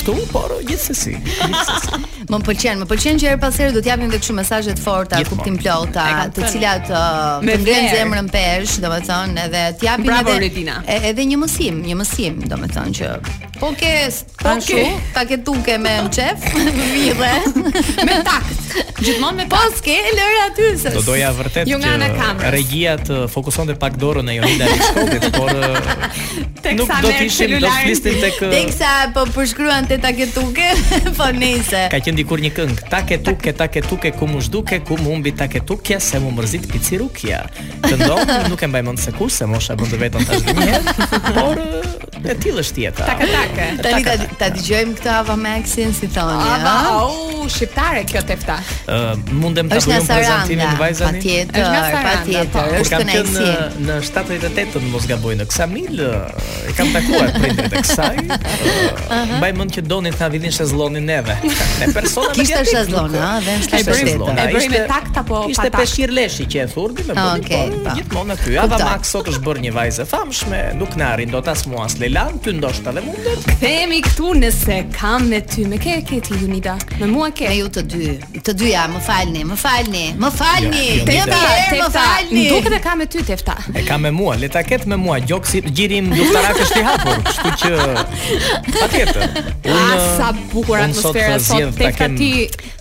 Speaker 9: këtu, por gjithsesi.
Speaker 7: Më pëlqen, më pëlqen që her pas here do t'japim edhe kështu mesazhe të forta,
Speaker 9: Gjithmonë.
Speaker 7: kuptim plota,
Speaker 8: E kam
Speaker 7: të
Speaker 8: thënë.
Speaker 7: cilat uh,
Speaker 8: Me
Speaker 7: të ngren
Speaker 8: flair.
Speaker 7: zemrën pesh, domethënë, edhe t'japim
Speaker 8: Bravo,
Speaker 7: edhe
Speaker 8: Redina.
Speaker 7: e- edhe një mësim, një mësim, domethënë që po ke s- po
Speaker 8: Po
Speaker 7: kështu,
Speaker 8: ke.
Speaker 7: ta ke tuke me mçef, vidhe.
Speaker 8: Me takt. Gjithmonë me
Speaker 7: Po s'ke lër aty se.
Speaker 9: Do doja vërtet
Speaker 8: Jo nga ana e
Speaker 9: që
Speaker 8: kamerës.
Speaker 9: regjia të fokusonte pak dorën e Jonida Riskotit, por eh,
Speaker 8: Tek
Speaker 9: nuk
Speaker 8: sa
Speaker 9: do
Speaker 8: merr
Speaker 9: të ishim do të
Speaker 8: celularin.
Speaker 9: flisnim tek eh,
Speaker 7: Teksa po përshkruan te ta ke tuke, po nejse.
Speaker 9: Ka qenë dikur një këngë, take tuke, take tuke, ku mu zhduke, ku mu humbi take tukja, se mu mërzit picirukja. Këndon, nuk e mbaj mend se kur, se mosha bën të vetën tash një herë, por e, e tillë është jeta.
Speaker 8: Taka taka.
Speaker 7: Tani ta, ta dëgjojmë këtë Ava Maxin si thoni,
Speaker 8: Ava,
Speaker 7: ëh?
Speaker 8: au, shqiptare kjo tefta.
Speaker 9: Ë, mundem ta
Speaker 7: Është nga
Speaker 9: bëjmë prezantimin
Speaker 7: Saranda,
Speaker 9: vajzani.
Speaker 7: patjetër,
Speaker 8: Është nga Saranda, po.
Speaker 7: patjetër,
Speaker 9: Kur
Speaker 7: është
Speaker 9: kam qenë
Speaker 7: kënaqësi.
Speaker 9: në, në 78-ën mos gaboj në Ksamil, ë, e kam takuar prindrit e kësaj. ë, Mbaj mend që donin ta vidhin shezllonin neve. Ne persona
Speaker 7: Kishte
Speaker 9: mediatik, nuk-
Speaker 7: shezlon, ëh, dhe në
Speaker 9: Ishte
Speaker 8: shezllona.
Speaker 7: 77.
Speaker 8: E bëri me
Speaker 9: ishte-
Speaker 8: takt apo pa
Speaker 9: Ishte
Speaker 8: takt?
Speaker 9: peshqir leshi që e thurdi me bëni
Speaker 7: Okej,
Speaker 9: po
Speaker 7: pa.
Speaker 9: gjithmonë aty. Ava
Speaker 7: Kuptoj.
Speaker 9: Max sot është bërë një vajzë e famshme, nuk na arrin dot as mua as Lelan, ty ndoshta dhe mundet.
Speaker 8: Themi këtu nëse kam me ty, me ke ke ti Unida, me mua ke.
Speaker 7: Me ju të dy, të dyja, më falni, më falni, më falni.
Speaker 9: Jo, jo,
Speaker 7: Të
Speaker 9: jo,
Speaker 7: jeta, më falni.
Speaker 8: Duket e kam me ty tefta.
Speaker 9: E ka me mua, le ta ket me mua, gjoksi gjirim luftarak është i hapur, kështu që patjetër.
Speaker 8: Ah, sa bukur
Speaker 9: unë
Speaker 8: atmosfera
Speaker 9: uh,
Speaker 8: sot.
Speaker 9: zgjedh ta
Speaker 8: Tefta
Speaker 9: kem-
Speaker 8: ti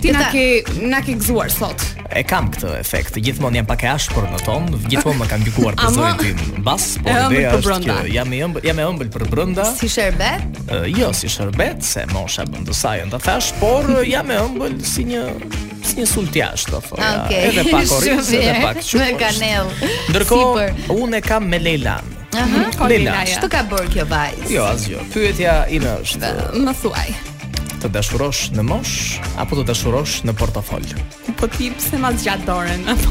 Speaker 8: ti na
Speaker 7: Tefta-
Speaker 8: ke na ke gëzuar sot.
Speaker 9: E kam këtë efekt. Gjithmonë jam pak e ashpër në ton, gjithmonë më kam gjykuar për
Speaker 8: Ama-
Speaker 9: zërin tim mbas,
Speaker 8: E
Speaker 9: por
Speaker 8: ëmbël
Speaker 9: ideja
Speaker 8: për
Speaker 9: është që
Speaker 8: brënda.
Speaker 9: jam i ëmbël, jam e ëmbël për brenda.
Speaker 7: Si sherbet?
Speaker 9: Ë, jo si shërbet, se mosha bën të sajën të thash, por ë, jam e ëmbël si një si një sultjash do thoja.
Speaker 7: Ah, Okej.
Speaker 9: Edhe pak oriz,
Speaker 7: Shumë
Speaker 9: edhe
Speaker 7: mirë.
Speaker 9: pak qumësht.
Speaker 7: Me kanellë.
Speaker 9: Ndërkohë,
Speaker 7: Sipër.
Speaker 9: unë e kam me Leilan.
Speaker 7: Aha. po
Speaker 8: Ko
Speaker 9: Lena.
Speaker 8: Lenaja.
Speaker 7: Çto ka bërë kjo vajzë?
Speaker 9: Jo, asgjë. Pyetja ime është
Speaker 8: Më thuaj.
Speaker 9: të dashurosh në mosh apo të dashurosh në portofol?
Speaker 8: Po ti pse ma zgjat dorën? apo?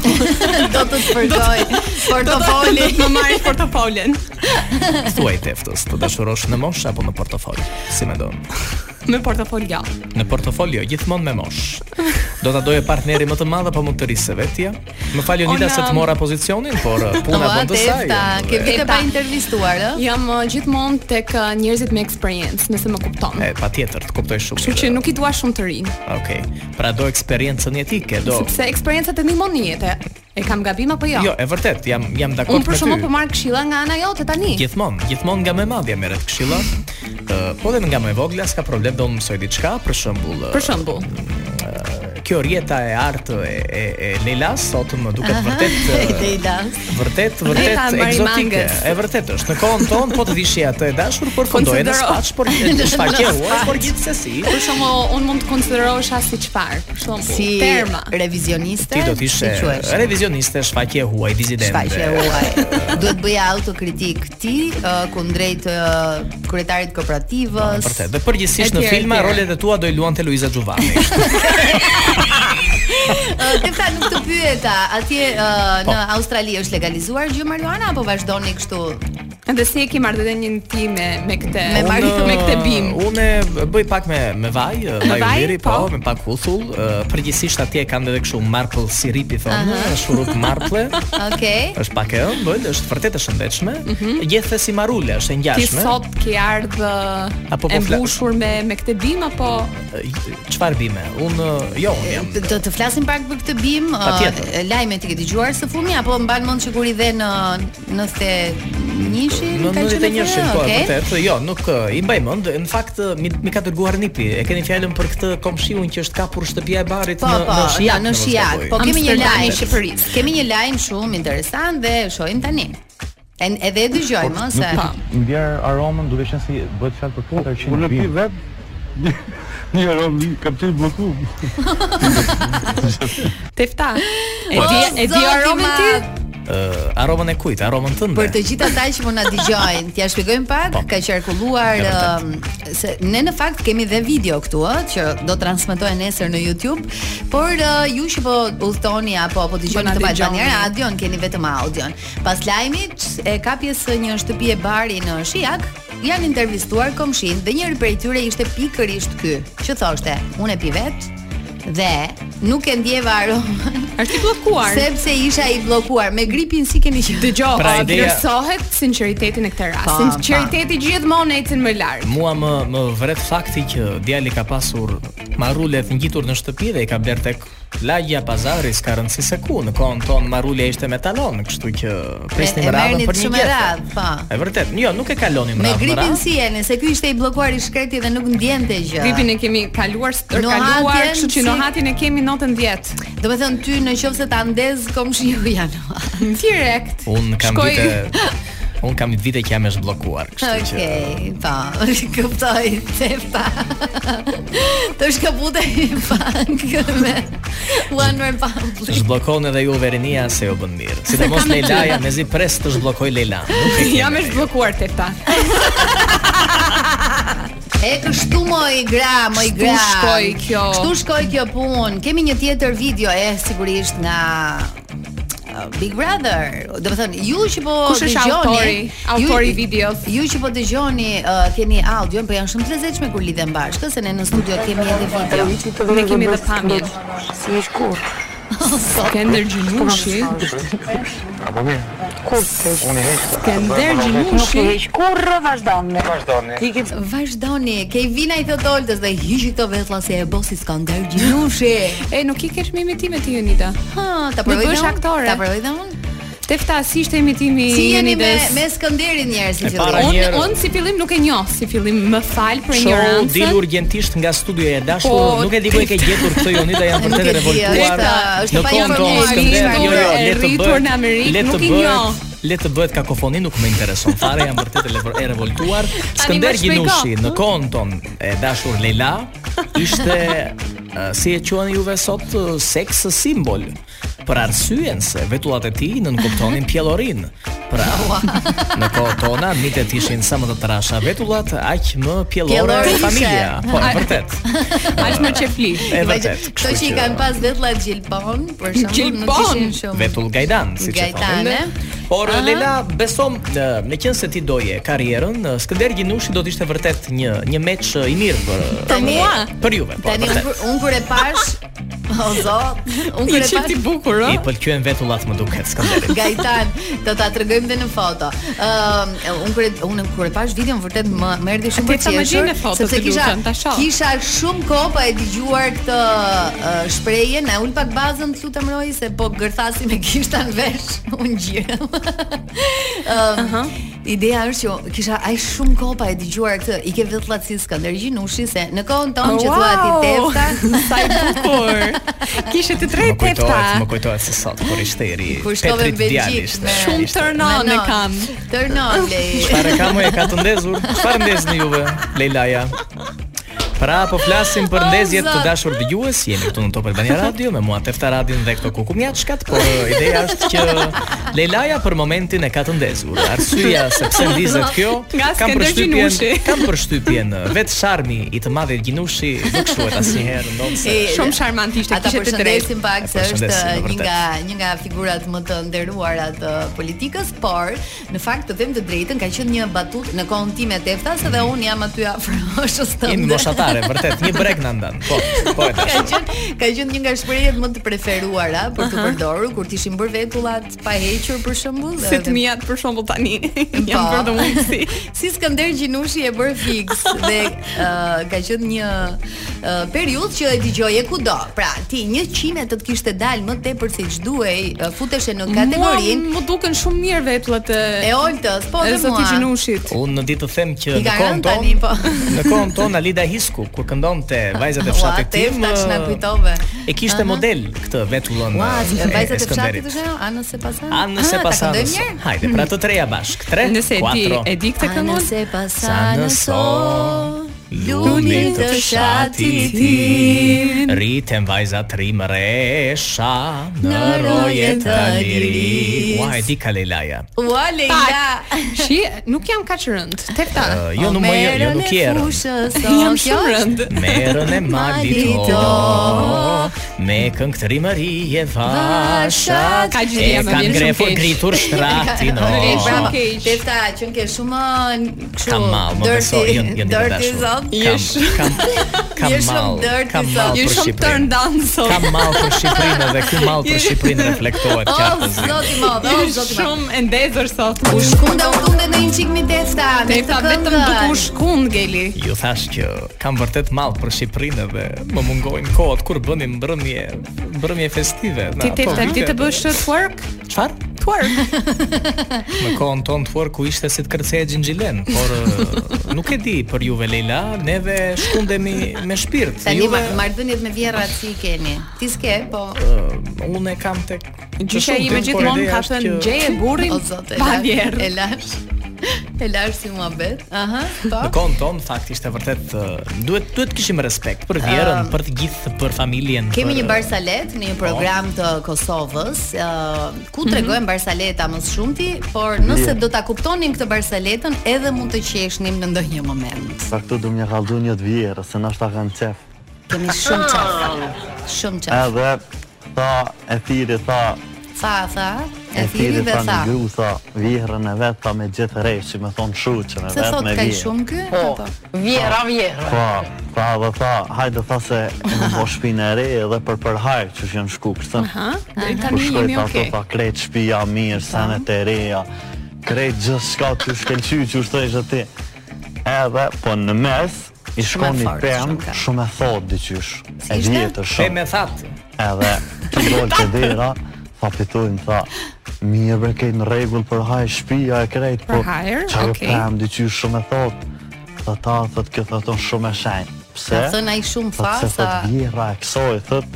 Speaker 7: Do të të përgoj
Speaker 8: Do të
Speaker 7: portofoli.
Speaker 8: do të më marrësh portofolin.
Speaker 9: Thuaj teftës, të dashurosh në mosh apo në portofol? Si mendon?
Speaker 8: Me portofol jo.
Speaker 9: Në portofolio gjithmonë me mosh. Do ta doje partneri më të madh apo më të ri se vetja? Më fal Jonida
Speaker 8: Ona-
Speaker 9: se të mora pozicionin, por uh,
Speaker 7: Po,
Speaker 9: puna bën të saj.
Speaker 7: tefta, ke
Speaker 9: dhe-
Speaker 7: vite pa intervistuar, ë?
Speaker 8: Jam uh, gjithmonë tek uh, njerëzit me eksperiencë, nëse më kupton.
Speaker 9: E, patjetër, të kuptoj shumë.
Speaker 8: Kështu që nuk i dua shumë të rinj,
Speaker 9: Okej. Pra do eksperiencën jetike, do.
Speaker 8: sepse eksperienca të ndihmon në jetë. E kam gabim apo jo?
Speaker 9: Jo, e vërtet, jam jam dakord
Speaker 8: Unë
Speaker 9: me
Speaker 8: për
Speaker 9: ty.
Speaker 8: shkakun po marr këshilla nga ana jote tani.
Speaker 9: Gjithmonë, gjithmonë nga më e madhja merret këshilla. Uh, Ë, po edhe nga më e vogla s'ka problem do më mësoj diçka, për shembull. ë,
Speaker 8: Për shembull,
Speaker 9: kjo rjeta e artë e, e, e Leilas sot më duket
Speaker 7: Aha,
Speaker 9: vërtet uh,
Speaker 7: e
Speaker 9: e,
Speaker 7: Leilas.
Speaker 9: vërtet
Speaker 7: Rjeta e
Speaker 9: vërtet
Speaker 7: Marimangës.
Speaker 9: egzotike. E vërtet është. Në kohën tonë po të vishje atë e dashur, por fondoi në
Speaker 8: Konsidero.
Speaker 9: spaç, por
Speaker 8: Në
Speaker 9: është shfaqehuar,
Speaker 8: spaç.
Speaker 9: por gjithsesi.
Speaker 8: Për shembull, unë mund të konsiderohesha si çfarë? Për shembull,
Speaker 7: Si
Speaker 8: terma.
Speaker 7: revizioniste.
Speaker 9: Ti do të ishe
Speaker 7: si quhesh?
Speaker 9: revizioniste, shfaqje huaj, dizidente.
Speaker 7: Shfaqje huaj. Duhet bëja autokritik ti uh, kundrejt uh, kryetarit kooperativës.
Speaker 9: Vërtet. Dhe përgjithsisht në filma rolet e tua do i luante Luiza Giovanni.
Speaker 7: Te fal pra, nuk të pyeta, atje uh,
Speaker 9: Po.
Speaker 7: në Australi është legalizuar gjë marijuana apo vazhdoni kështu?
Speaker 8: Edhe si e ke marrëdhënien ti me me këtë
Speaker 7: Me
Speaker 9: Unë, uh,
Speaker 7: Mari-
Speaker 8: me këtë bim?
Speaker 9: Unë bëj pak me me vaj, eh,
Speaker 8: Me
Speaker 9: vaj
Speaker 8: vaj,
Speaker 9: ulliri, po,
Speaker 8: po.
Speaker 9: me pak uthull. eh, Përgjithsisht atje kanë edhe kështu marple sirip i thonë,
Speaker 7: Aha.
Speaker 9: shurup marple.
Speaker 7: Okej.
Speaker 9: Është pak e ëmbël, është vërtet e shëndetshme. Gjethe si marule, është e
Speaker 8: Ti
Speaker 9: ngjashme.
Speaker 8: sot ke ardhë
Speaker 9: Apo po
Speaker 8: e
Speaker 9: fla-
Speaker 8: mbushur me me këtë bim apo
Speaker 9: Çfarë bime? Unë jo, unë jam.
Speaker 7: Do të flasim pak për këtë bim,
Speaker 9: Patjetër.
Speaker 7: uh, lajmet i ke dëgjuar së fundmi apo mban mend që kur i dhe në në the njëshin
Speaker 9: Në
Speaker 7: ka
Speaker 9: në
Speaker 7: qenë
Speaker 9: të njëshin, po, e
Speaker 7: okej?
Speaker 9: vërtet, jo, nuk eh, i mbaj mend. Në fakt eh, mi, mi ka dërguar Nipi. E keni fjalën për këtë komshiun që është kapur shtëpia e barit
Speaker 7: Po,
Speaker 9: në
Speaker 7: po,
Speaker 9: në
Speaker 7: ja,
Speaker 9: Shijak.
Speaker 7: në
Speaker 9: në Moskë,
Speaker 7: Shijak.
Speaker 9: po,
Speaker 7: Po kemi një
Speaker 8: Amsterdami i
Speaker 7: lajm
Speaker 8: Shqipërisë.
Speaker 7: Kemi një lajm shumë interesant dhe e shohim tani. En, edhe e dëgjojmë
Speaker 9: Po.
Speaker 7: ëh, se
Speaker 13: ndjer aromën, duke qenë se bëhet fjalë për 400
Speaker 14: unë e pi
Speaker 13: vet. Një aromë kam qenë bllokuar.
Speaker 8: tefta? E
Speaker 9: Po,
Speaker 8: di e di
Speaker 7: zoti
Speaker 8: aromën ti?
Speaker 7: madh.
Speaker 9: Eh, aromën e kujt? Aromën tënde.
Speaker 7: Për të gjithë ata që po na dëgjojnë, t'ja shpjegojmë pak, ka qarkulluar
Speaker 9: E
Speaker 7: ëm, se ne në fakt kemi dhe video këtu ë që do transmetohen nesër në YouTube, por ë, ju që po udhtoni apo po
Speaker 8: Po na
Speaker 7: dëgjoni të Albania
Speaker 8: dëgjoni.
Speaker 7: Radio, keni vetëm audion. Pas lajmit e ka pjesë një shtëpi e bari në Shijak, janë intervistuar komshin dhe njëri prej tyre ishte pikërisht ky, që thoshte, unë e pi vet dhe nuk e ndjeva aromën
Speaker 8: Është i bllokuar.
Speaker 7: sepse isha i bllokuar me gripin si keni qenë
Speaker 8: Dëgjoj,
Speaker 9: Pra,
Speaker 8: pra,
Speaker 9: ideja-
Speaker 8: vlerësohet sinqeriteti në këtë rast.
Speaker 7: Pa,
Speaker 8: Sinqeriteti gjithmonë ecën më larg.
Speaker 9: Mua më më vret fakti që djali ka pasur marrulet ngjitur në shtëpi dhe i ka bler tek lagja e pazarit, s'ka rëndësi se ku. Në kohën tonë marrulja ishte me talon, kështu që prisnim
Speaker 7: E- e
Speaker 9: radhën
Speaker 7: merrnit
Speaker 9: për një
Speaker 7: shumë radhë,
Speaker 9: gjethe.
Speaker 7: po.
Speaker 9: E vërtet, jo, nuk e kalonim
Speaker 7: Me
Speaker 9: radhë me
Speaker 7: gripin
Speaker 9: radhë.
Speaker 7: si jeni, se ky ishte i bllokuar i shkreti dhe nuk ndjente gjë.
Speaker 8: Gripin e kemi kaluar, stër kaluar,
Speaker 7: Nohatjen,
Speaker 8: kështu që
Speaker 7: si-
Speaker 8: nohatin e kemi notën 10.
Speaker 7: Do të thënë ty në qoftë se ta ndez komshiu janë.
Speaker 8: Direkt.
Speaker 9: Un kam
Speaker 8: Shkoj-
Speaker 9: vite Un kam vite që jam e zhbllokuar, kështu
Speaker 7: Okej,
Speaker 9: që
Speaker 7: okay, po, kuptoj, tefta. Të shkapute i bank me One Republic.
Speaker 9: zhbllokon edhe ju verinia se ju bën mirë. Sidomos Leilaja mezi pres të zhbllokoj Leila. Nuk e kemi.
Speaker 8: Jam e zblokuar tefta.
Speaker 7: E kështu moj gra, moj
Speaker 8: Kështu
Speaker 7: gra.
Speaker 8: shkoj kjo.
Speaker 7: Kështu shkoj kjo punë. Kemi një tjetër video, e sigurisht nga uh, Big Brother. Do të thënë, ju që po
Speaker 8: Kush është
Speaker 7: dëgjoni-
Speaker 8: autori? Autori i
Speaker 7: ju-
Speaker 8: videos.
Speaker 7: Ju që po dëgjoni uh, keni audio, por janë shumë të lezetshme kur lidhen bashkë, se ne në studio kemi edhe video.
Speaker 8: Ne kemi edhe pamjen.
Speaker 2: Si i shkur.
Speaker 8: Skender Gjinushi,
Speaker 13: Apo mirë.
Speaker 2: Kur të
Speaker 13: Unë heq.
Speaker 8: Skender
Speaker 2: Nuk i
Speaker 8: Gjinushi,
Speaker 2: heq kurrë, vazhdon.
Speaker 13: Vazhdoni.
Speaker 2: Ikit
Speaker 7: Vazhdoni, Kevina i thot Oltës dhe hiqi këto vetlla se e bosi Skander Gjinushi.
Speaker 8: E, nuk i kesh me imitime ti, Jonida.
Speaker 7: Ha,
Speaker 8: Nuk
Speaker 7: ta provoj
Speaker 8: bësh
Speaker 7: dhe unë?
Speaker 8: aktore.
Speaker 7: Ta provoj dhe unë.
Speaker 8: Tefta, si ishte imitimi
Speaker 7: Si
Speaker 8: i
Speaker 7: jeni me
Speaker 8: Jonides?
Speaker 7: me Skënderin njerëz si
Speaker 9: E para
Speaker 7: fillim?
Speaker 9: një-
Speaker 8: Unë
Speaker 9: Njerë-
Speaker 8: unë si fillim nuk e njoh, si fillim më fal për
Speaker 9: Show
Speaker 8: ignorancën.
Speaker 9: dil urgjentisht nga studioja e dashur,
Speaker 8: Po,
Speaker 9: nuk e di ku e ke gjetur këtë Jonida, janë
Speaker 7: Nuk e
Speaker 9: vërtet
Speaker 7: di,
Speaker 9: revoltuar.
Speaker 7: është- është
Speaker 9: Në
Speaker 7: pa
Speaker 9: kohën tonë,
Speaker 7: informuar,
Speaker 9: Skënder,
Speaker 7: ishte
Speaker 9: jo, jo,
Speaker 8: e
Speaker 9: le të
Speaker 8: rritur
Speaker 9: bëhet-
Speaker 8: në Amerikë,
Speaker 9: le të
Speaker 8: nuk i
Speaker 9: bëhet-
Speaker 8: njoh.
Speaker 9: Le të bëhet kakofoni, nuk më intereson fare, jam vërtet e levo- e revoltuar. Skënder
Speaker 8: më shpjego.
Speaker 9: Gjinushi në kohën tonë e dashur Leila ishte eh, si e quani juve sot eh, seks simbol për arsyen se vetullat e tij nën kuptonin pjellorin. Pra, në kohë tona mitet ishin sa më të trasha vetullat, aq më pjellore
Speaker 7: Pjellorishe.
Speaker 9: familja. Po, e vërtet.
Speaker 8: Aq më qefli.
Speaker 9: E
Speaker 7: Imagine,
Speaker 9: vërtet.
Speaker 7: Këto që i kanë pas vetlla gjilpon, për shembull, nuk
Speaker 8: Gjilpon!
Speaker 7: ishin shumë.
Speaker 9: Vetull Gajdan, si që
Speaker 7: Gajdan,
Speaker 9: thonë.
Speaker 7: e?
Speaker 9: Por
Speaker 7: Aha.
Speaker 9: Leila, besom, në- në qenë se ti doje karrierën, Skënder Gjinushi do të ishte vërtet një një meç eh, i mirë për
Speaker 7: Për mua?
Speaker 9: për juve, po
Speaker 7: Tani unë
Speaker 9: vërtet.
Speaker 7: kur- unë kur e pash, o zot, unë kur
Speaker 8: Një
Speaker 7: e
Speaker 8: çift i
Speaker 7: pash
Speaker 8: bukur,
Speaker 9: I
Speaker 8: ë?
Speaker 9: pëlqyen vetullat më duket Skënderit.
Speaker 7: Gajtan, do ta tregojmë dhe në foto. Ëm unë kur e- unë kur e pash videon vërtet më më erdhi shumë
Speaker 8: Atë
Speaker 7: e
Speaker 8: ta më gjej në foto,
Speaker 7: sepse
Speaker 8: të
Speaker 7: kisha
Speaker 8: lutem, ta shoh.
Speaker 7: kisha shumë kohë pa e dëgjuar këtë uh, shprehje, na ul pak bazën, të lutem Roy, se po gërthasi me kishta në vesh, unë gjirem. Ëm Ideja është që kisha aq shumë kohë pa e dëgjuar këtë, i ke vetllaci Skënder Gjinushi se në kohën tonë që thua ti
Speaker 8: Oh, Wow!
Speaker 7: tefta,
Speaker 8: Sa i bukur. Kishte të
Speaker 9: Më
Speaker 8: drejtë
Speaker 9: kujtohet, më kujtohet se sot kur ishte i ri.
Speaker 7: Kur shkove në
Speaker 9: Petrit djali
Speaker 7: Belgjik
Speaker 9: ishte.
Speaker 7: me
Speaker 8: Shumë turn on e
Speaker 7: me non.
Speaker 8: kam.
Speaker 7: Turn on Lej.
Speaker 9: Çfarë ka më e ka të ndezur? Çfarë ndezni juve, Leilaja? Pra po flasim për ndezjet të
Speaker 7: zot.
Speaker 9: dashur dëgjues, jemi këtu në Top Albania Radio me mua Tefta Radin dhe këto kukumjaçkat, por uh, ideja është që Leilaja për momentin e ka të ndezur. Arsyeja se pse ndizet kjo,
Speaker 8: Nga
Speaker 9: kam
Speaker 8: Skënder Gjinushi.
Speaker 9: përshtypjen, kam përshtypjen uh, vetë sharmi i të madh i Gjinushi nuk shuhet asnjëherë, ndonse
Speaker 7: E,
Speaker 8: Shumë sharmant ishte,
Speaker 7: Ata
Speaker 8: kishte të drejtë.
Speaker 7: përshëndesim pak se
Speaker 9: Ata
Speaker 7: është
Speaker 9: përshëndesin, në
Speaker 7: një
Speaker 9: vërtet.
Speaker 7: nga një nga figurat më të nderuara të politikës, por në fakt të them të drejtën ka qenë një batut në kohën time të eftas edhe un jam aty afër moshës tënde.
Speaker 9: jemi moshatare, vërtet, një breg na ndan. Po, po e
Speaker 7: Ka
Speaker 9: tash.
Speaker 7: qenë ka qenë një nga shprehjet më të preferuara për të
Speaker 8: Aha.
Speaker 7: përdorur kur të ishin bërë vetullat pa hequr për shembull.
Speaker 8: Se
Speaker 7: edhe-
Speaker 8: të mijat për shembull tani janë
Speaker 7: Po.
Speaker 8: bërë domosdoshmësi.
Speaker 7: Si Skënder Gjinushi e bërë fix dhe uh, ka qenë një uh, periudhë që e dëgjoj e kudo. Pra, ti 100 të të kishte dalë më tepër se ç'duhej, uh, futeshe në kategorinë
Speaker 8: Mua Më duken shumë mirë vetullat e
Speaker 7: e Oltës, po
Speaker 8: e
Speaker 7: dhe
Speaker 8: zoti
Speaker 7: mua.
Speaker 8: Gjinushit.
Speaker 9: Unë në ditë të them që
Speaker 7: I
Speaker 9: në
Speaker 7: ka
Speaker 9: kohën
Speaker 7: rënë tani
Speaker 9: tonë
Speaker 7: po.
Speaker 9: Në kohën tonë Alida Hisku kur këndonte vajzat e
Speaker 7: Ua,
Speaker 9: fshatit tim. uh,
Speaker 7: tash na
Speaker 9: ë,
Speaker 7: kujtove.
Speaker 9: E kishte
Speaker 7: Aha.
Speaker 9: model këtë vetullën.
Speaker 7: Ua,
Speaker 9: ë, e-
Speaker 7: vajzat e
Speaker 9: Skënderit.
Speaker 7: fshatit është ajo? Anës se pasan?
Speaker 9: Anë se
Speaker 7: Ah, ta
Speaker 9: pasanës.
Speaker 7: këndojmë njerë?
Speaker 9: Hajde, pra të treja bashk. 3
Speaker 8: Nëse e di,
Speaker 9: 4.
Speaker 8: e di këtë këngën?
Speaker 7: Anës se
Speaker 9: Sana
Speaker 7: pasanës
Speaker 9: so
Speaker 7: so Lumi të shatit tim
Speaker 9: Rritem vajza trim resha Në
Speaker 7: Në
Speaker 9: roje
Speaker 7: roje
Speaker 9: të
Speaker 7: të
Speaker 9: liris
Speaker 7: liris.
Speaker 9: Ua, e di ka Leilaja
Speaker 7: Ua, Leila
Speaker 8: Shi, nuk jam kaq rënd. Tefta.
Speaker 9: Ë, Jo në më jo, jo nuk je rënd.
Speaker 8: Jam shumë rënd.
Speaker 9: Merën e malit
Speaker 7: Malit,
Speaker 9: o Me këngë të rimëri e vashat
Speaker 8: Ka gjëria,
Speaker 9: E
Speaker 8: më
Speaker 9: kanë
Speaker 8: vjen shumë
Speaker 9: grefur
Speaker 8: keq.
Speaker 9: gritur shtratin oh. o
Speaker 8: Më vjen shumë
Speaker 7: Bravo.
Speaker 8: keq.
Speaker 7: Tefta që ke shumë kështu.
Speaker 9: Kam mal, më beso, jo jo një të
Speaker 7: dirty
Speaker 9: dashur.
Speaker 7: zot.
Speaker 9: Kam kam
Speaker 7: Je
Speaker 9: kam
Speaker 7: shumë
Speaker 9: mal.
Speaker 7: dirty
Speaker 9: Kam
Speaker 7: zot.
Speaker 9: mal
Speaker 8: Je
Speaker 9: për
Speaker 8: shumë
Speaker 9: Shqipërinë.
Speaker 8: turn down sot.
Speaker 9: Kam mal për Shqipërinë dhe ky mal për Shqipërinë reflektohet
Speaker 7: Oh,
Speaker 9: qartë.
Speaker 7: zoti i madh, oh,
Speaker 8: Je
Speaker 7: zoti i madh.
Speaker 8: shumë e ndezur sot.
Speaker 7: U shkunda u tunde në një çik mi Tefta, me
Speaker 8: Tefta
Speaker 7: këtë
Speaker 8: vetëm
Speaker 7: këngën.
Speaker 8: duke u shkund Geli.
Speaker 9: Ju thash që kam vërtet mall për Shqipërinë dhe më mungojnë kohët kur bënim mbrëmje, mbrëmje festive. po
Speaker 8: Ti Tefta, ti të bësh twerk?
Speaker 9: çfarë?
Speaker 8: Twerk.
Speaker 9: Në kohën tonë twerk ku ishte si të kërcej gjingjilen, por ë, nuk e di për juve Leila, neve shkundemi me shpirt.
Speaker 7: Tani
Speaker 9: juve
Speaker 7: ma- marrëdhëniet me vjerrat si i keni. Ti s'ke, po.
Speaker 9: ë, unë e kam tek
Speaker 8: Gjysha
Speaker 9: shumë
Speaker 8: ime
Speaker 9: tim, por
Speaker 8: gjithmonë
Speaker 9: ideja
Speaker 8: ka
Speaker 9: është
Speaker 8: thënë
Speaker 9: që-
Speaker 8: gjeje burrin
Speaker 7: O zot, e
Speaker 8: pa
Speaker 7: lash.
Speaker 8: vjerë.
Speaker 7: E lash. E lash si muhabet. Aha, po.
Speaker 9: Në kohën tonë fakt ishte vërtet ë, duhet duhet kishim respekt për vjerën, për të gjithë, për familjen.
Speaker 7: Kemi
Speaker 9: për,
Speaker 7: një
Speaker 9: ë,
Speaker 7: barsalet në një program të Kosovës, ë, ku
Speaker 8: Mhm.
Speaker 7: tregojmë barsaleta më së shumti, por
Speaker 9: Jo.
Speaker 7: nëse do ta kuptonin këtë barsaletën, edhe mund të qeshnim në ndonjë moment.
Speaker 13: Sa këtu du më një kaldu një të vjerë, se nështë ta kanë qef.
Speaker 7: Kemi shumë çaf. Shumë çaf.
Speaker 13: Edhe, tha, e thiri, tha,
Speaker 7: Tha, tha, e thiri dhe
Speaker 13: tha
Speaker 7: tha.
Speaker 13: në gru, tha, vjerën e vetë, tha me gjithë rejshi, me thonë shuqën e
Speaker 7: Se
Speaker 13: vetë
Speaker 7: thot
Speaker 13: me
Speaker 7: ka
Speaker 13: vjerë.
Speaker 7: shumë ky? apo?
Speaker 1: Vjera, vjera.
Speaker 13: Po, tha dhe tha, hajde tha se e më po shpinë e re edhe për për hajrë që shënë shku kështën.
Speaker 8: Ha? Deri
Speaker 13: Kur
Speaker 8: tani
Speaker 13: Po shkoj
Speaker 8: jemi Po.
Speaker 13: tha,
Speaker 8: okay.
Speaker 13: okay. tha, krejt shpia mirë, senet e reja, krejt gjithë shka të shkelqy që ushtoj ti. Edhe, po në mes, i shkon një
Speaker 7: fort, shumë
Speaker 13: pemë
Speaker 7: ka.
Speaker 13: shumë e thotë diqysh.
Speaker 7: Si
Speaker 13: E
Speaker 7: ishte?
Speaker 13: djetë
Speaker 9: Pe
Speaker 13: shumë.
Speaker 9: me that.
Speaker 13: Edhe ti dol të dera, tha fitojmë, tha, mirë bre kejtë në regull për haj shtëpia e krejt, po
Speaker 8: Për hajër,
Speaker 13: qarë
Speaker 8: okej.
Speaker 13: pëmë dyqy shumë e thotë, tha ta, thët kjo thëtë unë shumë e shenjë. Po, Pse?
Speaker 7: Ka thënë ai shumë
Speaker 13: Tha
Speaker 7: fa
Speaker 13: se
Speaker 7: sa
Speaker 13: thët vjera e kësoj, thët,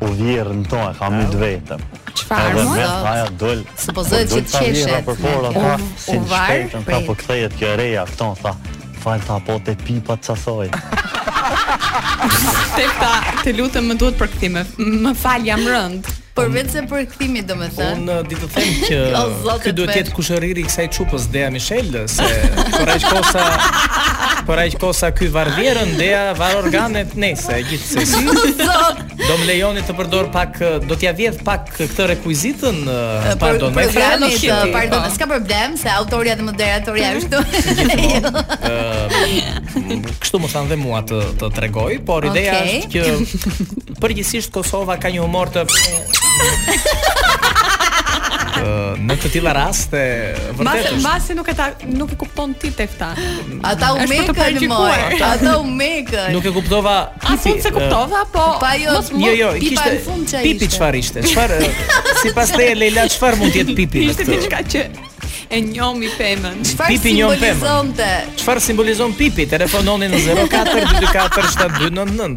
Speaker 13: u vjerën në e kam i vetëm.
Speaker 8: Çfarë?
Speaker 13: Edhe
Speaker 8: mo?
Speaker 13: me
Speaker 7: Zot.
Speaker 13: tha aja dol.
Speaker 7: Supozohet
Speaker 13: po dol
Speaker 7: "Po, jo." që
Speaker 13: tha vjera
Speaker 7: qeshet.
Speaker 13: Për fora,
Speaker 7: Okej.
Speaker 13: tha,
Speaker 7: U-
Speaker 13: si
Speaker 7: u
Speaker 13: në
Speaker 7: varr,
Speaker 13: shpejtën, tha,
Speaker 7: prit.
Speaker 13: po këthejet kjo reja, këton, tha, falë tha, po te pipat qasoj.
Speaker 8: Tefta, të lutem më duhet për këthime. Më fal, jam rënd.
Speaker 7: përveç se për kthimin domethënë.
Speaker 9: Unë uh, di të them që
Speaker 7: O, zotë
Speaker 9: ky duhet
Speaker 7: të
Speaker 9: të jetë kushëriri i kësaj çupës Dea Michel, se por aq kosa por aq kosa ky varvjerën Dea var organet nëse
Speaker 13: Po,
Speaker 9: gjithsesi.
Speaker 7: Zot,
Speaker 9: Do më lejoni të përdor pak, uh, do t'ja vjedh pak këtë rekuizitën, eh,
Speaker 7: Për-
Speaker 9: pardon, me fjalë
Speaker 7: programit,
Speaker 9: shiti,
Speaker 7: uh, pardon,
Speaker 9: po.
Speaker 7: s'ka problem se autoria dhe moderatorja është këtu.
Speaker 9: Ë, Uh, kështu më thanë dhe mua të të tregoj, por ideja
Speaker 7: Okej.
Speaker 9: është që përgjithsisht Kosova ka një humor të Ë, në të tilla raste vërtet
Speaker 8: Mbase
Speaker 9: është
Speaker 8: mbase nuk e ta nuk e kupton ti Tefta.
Speaker 7: Ata u
Speaker 8: Është për të
Speaker 7: mekën moj.
Speaker 8: paraqikuar.
Speaker 7: Ata u mekën.
Speaker 9: nuk e kuptova
Speaker 8: A fund se kuptova, po
Speaker 7: Pa jo,
Speaker 8: mos
Speaker 9: Jo, jo,
Speaker 7: pipa
Speaker 9: kishte
Speaker 7: në fund qa
Speaker 9: pipi
Speaker 7: ishte.
Speaker 9: çfarë ishte? Çfarë ë, sipas teje Leila çfarë mund të jetë pipi? në
Speaker 8: ishte
Speaker 9: këtë?
Speaker 8: diçka që e njomi pemën.
Speaker 7: Çfarë
Speaker 9: pipi njën femër.
Speaker 7: simbolizonte?
Speaker 9: Çfarë simbolizon pipi? Telefononi në 04 224 7299.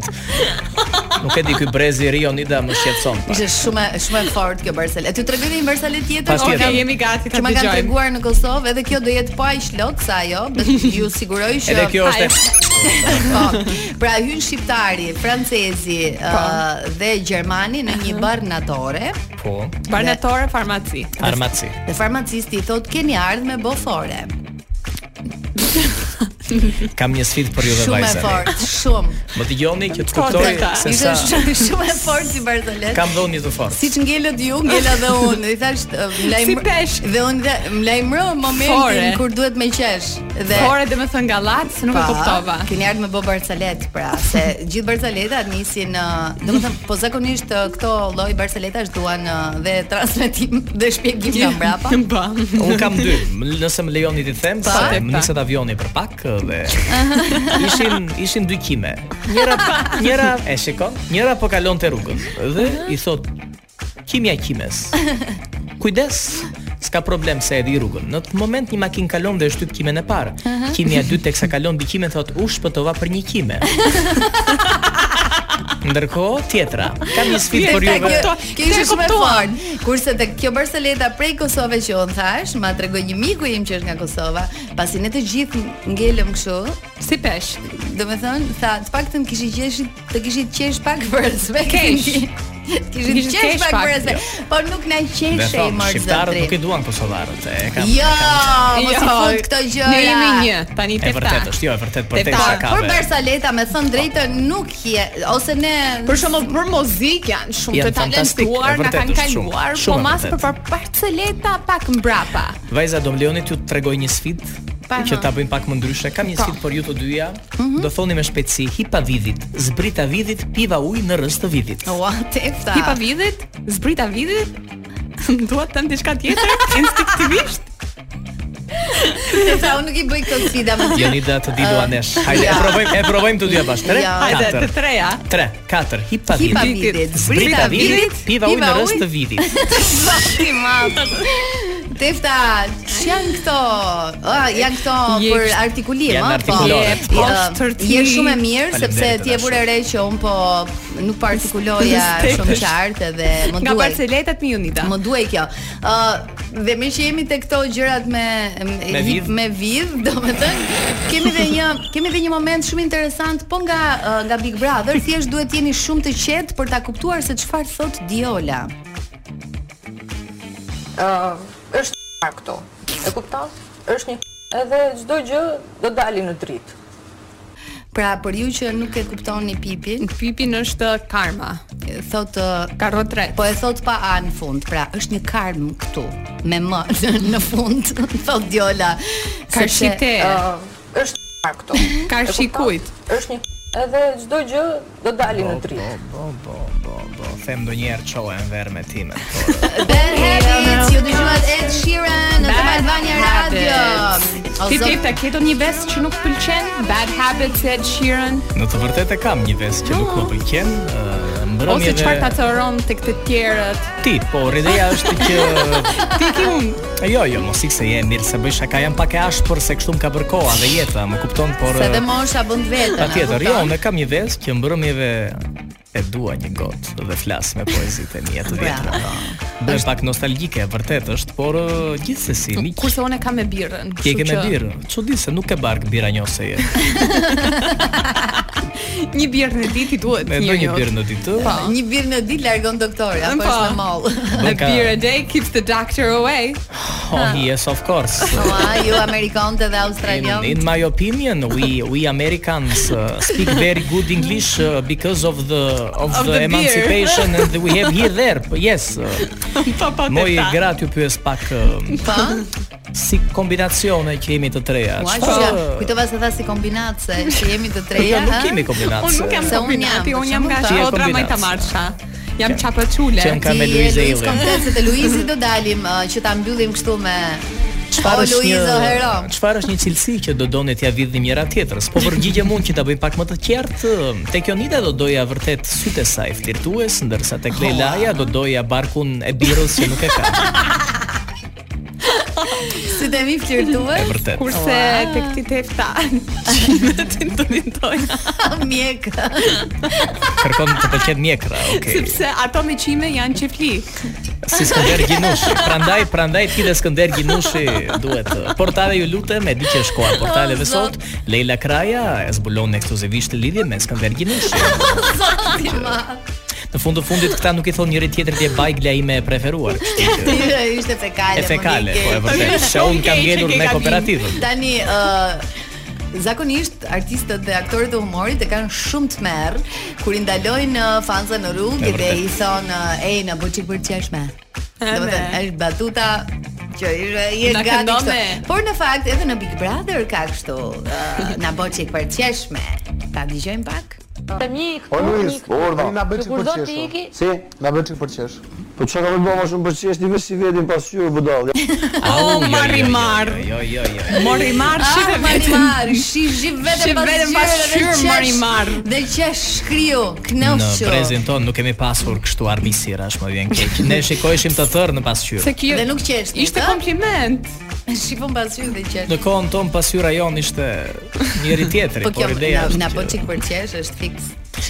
Speaker 9: Nuk e di ky brezi i ri Onida më shqetëson. pak.
Speaker 7: Ishte shumë shumë e fortë kjo Barcelona. Ty tregoj një Barcelona tjetër.
Speaker 9: Pas tjetër.
Speaker 7: Okej,
Speaker 9: jemi
Speaker 8: gati
Speaker 9: ta
Speaker 7: Që ma kanë
Speaker 9: dëgjojmë.
Speaker 7: treguar në Kosovë, edhe kjo do jetë po aq lot sa ajo, bet ju siguroj që
Speaker 9: Edhe kjo është e-
Speaker 7: Po. Pra hyn shqiptari, francezi ë, dhe gjermani në një barnatore.
Speaker 9: Po.
Speaker 8: Barnatore farmaci.
Speaker 9: Farmaci.
Speaker 7: Dhe farmacisti i thot keni ardhur me bofore.
Speaker 9: Kam një sfidë për ju dhe
Speaker 7: Shumë e
Speaker 9: vajzani.
Speaker 7: fortë, shumë.
Speaker 9: Më dëgjoni që të kuptoj se
Speaker 7: Ishte
Speaker 9: sa
Speaker 7: shumë shumë e fortë si Bartolet.
Speaker 9: kam dhënë një të fortë.
Speaker 7: Siç ngelet ju, ngela dhe unë. I thash uh, mlajm
Speaker 8: Si peshk.
Speaker 7: dhe unë dhe mlajmëro momentin
Speaker 8: Fore.
Speaker 7: kur duhet me qesh. Dhe
Speaker 8: Fore dhe me thënë gallat, se nuk e
Speaker 7: Pa,
Speaker 8: kuptova.
Speaker 7: Keni ardhur me bo barcelet, pra, se gjithë barceletat nisin, ë, domethënë, po zakonisht ë, këto lloj barceletash duan ë, dhe transmetim dhe shpjegim nga mbrapa.
Speaker 9: Un kam dy. M- Nëse më lejoni ti them,
Speaker 7: Pa.
Speaker 9: se më niset avioni për pak dhe ishin ishin dy kime. Njëra njëra e shikon, njëra po kalonte rrugën dhe i thot kimja kimes. Kujdes, s'ka problem se e di rrugën. Në të moment një makinë kalon dhe e shtyp kimen e parë.
Speaker 14: Aha.
Speaker 9: Kimja e dytë teksa kalon mbi kimen thot u shpëtova për një kime. Ndërkohë tjetra, kam një sfidë për
Speaker 7: Kjo-
Speaker 9: juve.
Speaker 7: Kjo ishte shumë e fortë. Kurse tek kjo Barceleta prej Kosovës që un thash, ma tregoi një miku im që është nga Kosova, pasi ne të gjithë ngelëm kështu,
Speaker 8: si pesh.
Speaker 7: Domethënë, tha, të paktën kishit qesh, të kishit qesh pak për respektin.
Speaker 8: Kesh.
Speaker 7: tim." Kishit
Speaker 8: Kishit
Speaker 7: qesh
Speaker 8: qesh pak,
Speaker 7: pak
Speaker 8: jo.
Speaker 7: për respekt. Po nuk na
Speaker 9: Dhe
Speaker 7: qeshej
Speaker 9: thon,
Speaker 7: më
Speaker 9: shqiptarët
Speaker 7: zotri.
Speaker 9: nuk i duan kosovarët. E kam.
Speaker 7: Jo,
Speaker 9: kam-
Speaker 7: mos i fut këto gjëra.
Speaker 8: Ne jemi një, tani
Speaker 9: E
Speaker 8: tek ta.
Speaker 9: vërtet është, jo, e vërtet për tek
Speaker 7: Po,
Speaker 9: shakave.
Speaker 7: Për Barceleta me thënë drejtën nuk je ose ne
Speaker 8: Për shembull për muzikë janë shumë të
Speaker 9: Janë fantastik, e
Speaker 8: talentuar, na
Speaker 9: vërtet
Speaker 8: kanë
Speaker 9: është shumë,
Speaker 8: kaluar,
Speaker 9: shumë
Speaker 8: po
Speaker 9: e
Speaker 8: mas
Speaker 9: vërtet.
Speaker 8: për për parceleta pak mbrapa.
Speaker 9: Vajza do mlejoni t'ju tregoj një sfidë
Speaker 8: Pa,
Speaker 9: që
Speaker 8: ha.
Speaker 9: ta bëjmë pak më ndryshe. Kam një
Speaker 8: Po. Mhm.
Speaker 9: sfidë për ju të dyja. Do thoni me shpejtësi hipa vidhit, zbrita vidhit, piva ujë në rrës të vidhit.
Speaker 7: Ua, tefta.
Speaker 8: Hipa vidhit, zbrita vidhit. Dua të them diçka tjetër, instinktivisht.
Speaker 7: Tefta, unë nuk i bëj këto sfida më.
Speaker 9: Jonida të di dua nesh. Hajde, e provojmë, e provojmë të dyja bashkë. Tre,
Speaker 7: Ja.
Speaker 8: Hajde, të
Speaker 9: katër.
Speaker 8: treja.
Speaker 9: 3, 4, hipa
Speaker 7: Hipa
Speaker 9: vidhit,
Speaker 7: vidhit,
Speaker 9: zbrita
Speaker 7: zbrita
Speaker 9: vidhit,
Speaker 7: vidhit,
Speaker 9: piva ujë
Speaker 7: piva
Speaker 9: në rrës
Speaker 7: ujë.
Speaker 9: të vidhit.
Speaker 7: Zoti i madh. Tefta, që janë këto? Ah, janë këto
Speaker 8: Je-
Speaker 7: për artikulim,
Speaker 9: janë
Speaker 7: ah,
Speaker 9: artikulore.
Speaker 7: Po,
Speaker 8: Po,
Speaker 7: Ja,
Speaker 8: shtërti.
Speaker 7: je shumë e mirë sepse
Speaker 9: Faleminderit,
Speaker 7: ti e vure re që un po nuk po artikuloja shumë
Speaker 9: Vërtet.
Speaker 7: qartë dhe më
Speaker 8: Nga
Speaker 7: duaj.
Speaker 8: parceletat mi unita.
Speaker 7: Më duaj kjo. Ë dhe me që jemi te këto gjërat me
Speaker 9: Me vidh.
Speaker 7: me vidh, domethënë kemi edhe një kemi edhe një moment shumë interesant po nga ë, nga Big Brother, thjesht duhet jeni shumë të qetë për ta kuptuar se çfarë thot Diola.
Speaker 15: Ë, është këto. E kupton? Është një edhe çdo gjë do dali në dritë.
Speaker 7: Pra për ju që nuk e kuptoni Pipin,
Speaker 8: Pipin është karma.
Speaker 7: Thot ë,
Speaker 8: karrot rreth.
Speaker 7: Po e thot pa a në fund. Pra është një karm këtu me m në fund. Thot Diola. Sepse,
Speaker 8: Karshite.
Speaker 7: ë,
Speaker 15: Është këto.
Speaker 8: Ka
Speaker 15: E kupton?
Speaker 8: shikujt.
Speaker 15: Është një edhe çdo gjë do dali në dritë.
Speaker 9: Po, po, po, po. Them ndonjëherë çohem verë me Po, timen.
Speaker 7: Bad Habits, ju dëgjuat Ed Sheeran në Top Albania Radio. O,
Speaker 8: Ti
Speaker 7: zot-
Speaker 8: tip ta keton një vesë që nuk pëlqen, Bad Habits Ed Sheeran
Speaker 9: Në të vërtetë kam një vesë që nuk më pëlqen, ë,
Speaker 8: Ah.
Speaker 9: mbrëmje
Speaker 8: ose
Speaker 9: dhe-
Speaker 8: çfarë ta cëron tek të tjerët.
Speaker 9: Ti, po ideja është që
Speaker 8: Ti ki unë.
Speaker 9: jo, jo, mos ikse je mirë se bëj shaka, jam pak e ashpër se kështu më ka bërë koha dhe jeta, më kupton, por
Speaker 7: Se dhe mosha bën të vetën.
Speaker 9: patjetër,
Speaker 7: a
Speaker 9: jo,
Speaker 7: kupton?
Speaker 9: unë kam një vesë që mbrëmjeve e dua një gotë dhe flas me poezitë e mia të vjetra. Bëj pak nostalgjike, vërtet është, por ë, gjithsesi, miq,
Speaker 8: Kurse unë e kam me birrën.
Speaker 9: ti e ke
Speaker 8: kështu
Speaker 9: me
Speaker 8: që-
Speaker 9: birë. Çudi se nuk e bark bira njose je.
Speaker 8: Një birrë në ditë i duhet.
Speaker 9: Me do një
Speaker 8: njeriu.
Speaker 9: birë në ditë.
Speaker 8: Po.
Speaker 7: Një birë në ditë largon doktori, apo
Speaker 8: Po.
Speaker 7: është në mall.
Speaker 8: A
Speaker 9: Bën ka-
Speaker 8: beer a day keeps the doctor away.
Speaker 9: Oh, yes, of course.
Speaker 7: Ua, Po, ju amerikanët dhe australian.
Speaker 9: In, in my opinion, we we Americans uh, speak very good English uh, because of the of,
Speaker 8: Of
Speaker 9: the,
Speaker 8: the beer.
Speaker 9: emancipation and we have here there. But yes. Uh,
Speaker 8: Po,
Speaker 9: Moj
Speaker 8: teta.
Speaker 9: gra t'ju pyes pak uh,
Speaker 7: Pa?
Speaker 9: si kombinacione që jemi të treja.
Speaker 7: Ua,
Speaker 9: Çfarë-
Speaker 7: që kujtova se tha si kombinat se që jemi të treja.
Speaker 9: Po. Jo,
Speaker 8: eh?
Speaker 9: nuk
Speaker 7: ha?
Speaker 9: kemi kombinat,
Speaker 8: Unë nuk
Speaker 9: se-
Speaker 8: jam
Speaker 7: Se unë
Speaker 8: kombinati,
Speaker 7: jam,
Speaker 8: unë jam
Speaker 7: për
Speaker 8: nga
Speaker 9: shembull, ta.
Speaker 8: Shkodra
Speaker 9: Ti je
Speaker 8: më ta
Speaker 9: kombinat.
Speaker 8: marsha. Jam çapaçule.
Speaker 9: Qem ka me
Speaker 7: Ti
Speaker 9: Luiz
Speaker 7: e
Speaker 9: Eilin.
Speaker 7: Luiz komplet se te Luizi do dalim ë, që ta mbyllim kështu me
Speaker 9: Çfarë
Speaker 7: O,
Speaker 9: është një
Speaker 7: Luizo, hero.
Speaker 9: Çfarë është një cilësi që do doni t'ja vidhni njëra tjetrës? Po përgjigjem unë që ta bëjmë pak më të qartë. ë, Tek Jonida do doja vërtet sytë e saj flirtues, ndërsa tek Leilaja do doja barkun e birrës që nuk e ka.
Speaker 7: si të temi flirtuar.
Speaker 9: E vërtet.
Speaker 8: Kurse
Speaker 7: Ua.
Speaker 8: tek ti tefta, çimet të ndonjëtojnë.
Speaker 7: Mjek.
Speaker 9: Kërkon të pëlqen mjekra, okay.
Speaker 8: Sepse ato me qime janë qefli.
Speaker 9: Si Skënder Ginushi. Prandaj, prandaj ti dhe Skënder Ginushi duhet. uh, Portale ju lutem, e di që është koha e portaleve
Speaker 7: O,
Speaker 9: sot.
Speaker 7: Oh, Zot.
Speaker 9: Leila Kraja e zbulon ekskluzivisht lidhje me Skënder Ginushi.
Speaker 7: Zoti ma.
Speaker 9: Në fund të fundit këta nuk i thon njëri tjetrit je bajgla ime e preferuar. kështu që-
Speaker 7: Ishte fekale.
Speaker 9: E fekale,
Speaker 7: Monike.
Speaker 9: po, e vërtet.
Speaker 7: Ishte
Speaker 9: Se
Speaker 7: shumë
Speaker 9: unë kam
Speaker 7: keq që
Speaker 9: ngjetur
Speaker 7: ke
Speaker 9: me
Speaker 7: gabim.
Speaker 9: kooperativën.
Speaker 7: Tani ë Zakonisht artistët dhe aktorët e humorit e kanë shumë të merr kur i ndalojnë ë, fanza në rrugë
Speaker 9: E
Speaker 7: dhe
Speaker 9: vërtet.
Speaker 7: i thonë ë, "Ej, na bëj çik për çeshme." Domethënë, është batuta që ishte je
Speaker 8: Na
Speaker 7: gati
Speaker 8: këndon me.
Speaker 7: kështu. Por në fakt edhe në Big Brother ka kështu, ë, na bëj çik për çeshme. Ta dëgjojmë pak.
Speaker 15: Tani
Speaker 14: O Luis, tani na
Speaker 15: orda.
Speaker 14: bëj çik
Speaker 15: Kur
Speaker 14: për
Speaker 15: do të
Speaker 14: qesh.
Speaker 15: iki?
Speaker 14: o. Si, na bëj çik për qesh.
Speaker 16: Po çka ka bëu më shumë për çesh ti vetë si vetin pas syr budall.
Speaker 8: O, marri marr.
Speaker 9: Jo, jo, jo.
Speaker 8: Mori marr,
Speaker 7: Ah,
Speaker 8: shive
Speaker 7: mari
Speaker 8: vetëm.
Speaker 7: Mar, shi shi vetëm
Speaker 8: Shi
Speaker 7: pas
Speaker 8: vetëm pas
Speaker 7: gjyrave,
Speaker 8: gjyrë,
Speaker 7: qesh-
Speaker 8: mari Mar.
Speaker 7: Dhe qesh shkriu,
Speaker 9: Në
Speaker 7: knofshu.
Speaker 9: prezin ton nuk kemi pasur kështu armisira, është më vjen keq. Ne shikojshim të tërë në pasqyrë.
Speaker 8: Jo,
Speaker 7: kjo dhe nuk qesh. Ishte
Speaker 8: kompliment.
Speaker 7: Shifon pasqyrë dhe qesh.
Speaker 9: Në kohën tonë pasqyra jon ishte njëri tjetri,
Speaker 7: Po kjo
Speaker 9: por ideja
Speaker 7: na- na
Speaker 9: është
Speaker 7: po çik për qesh është fiks.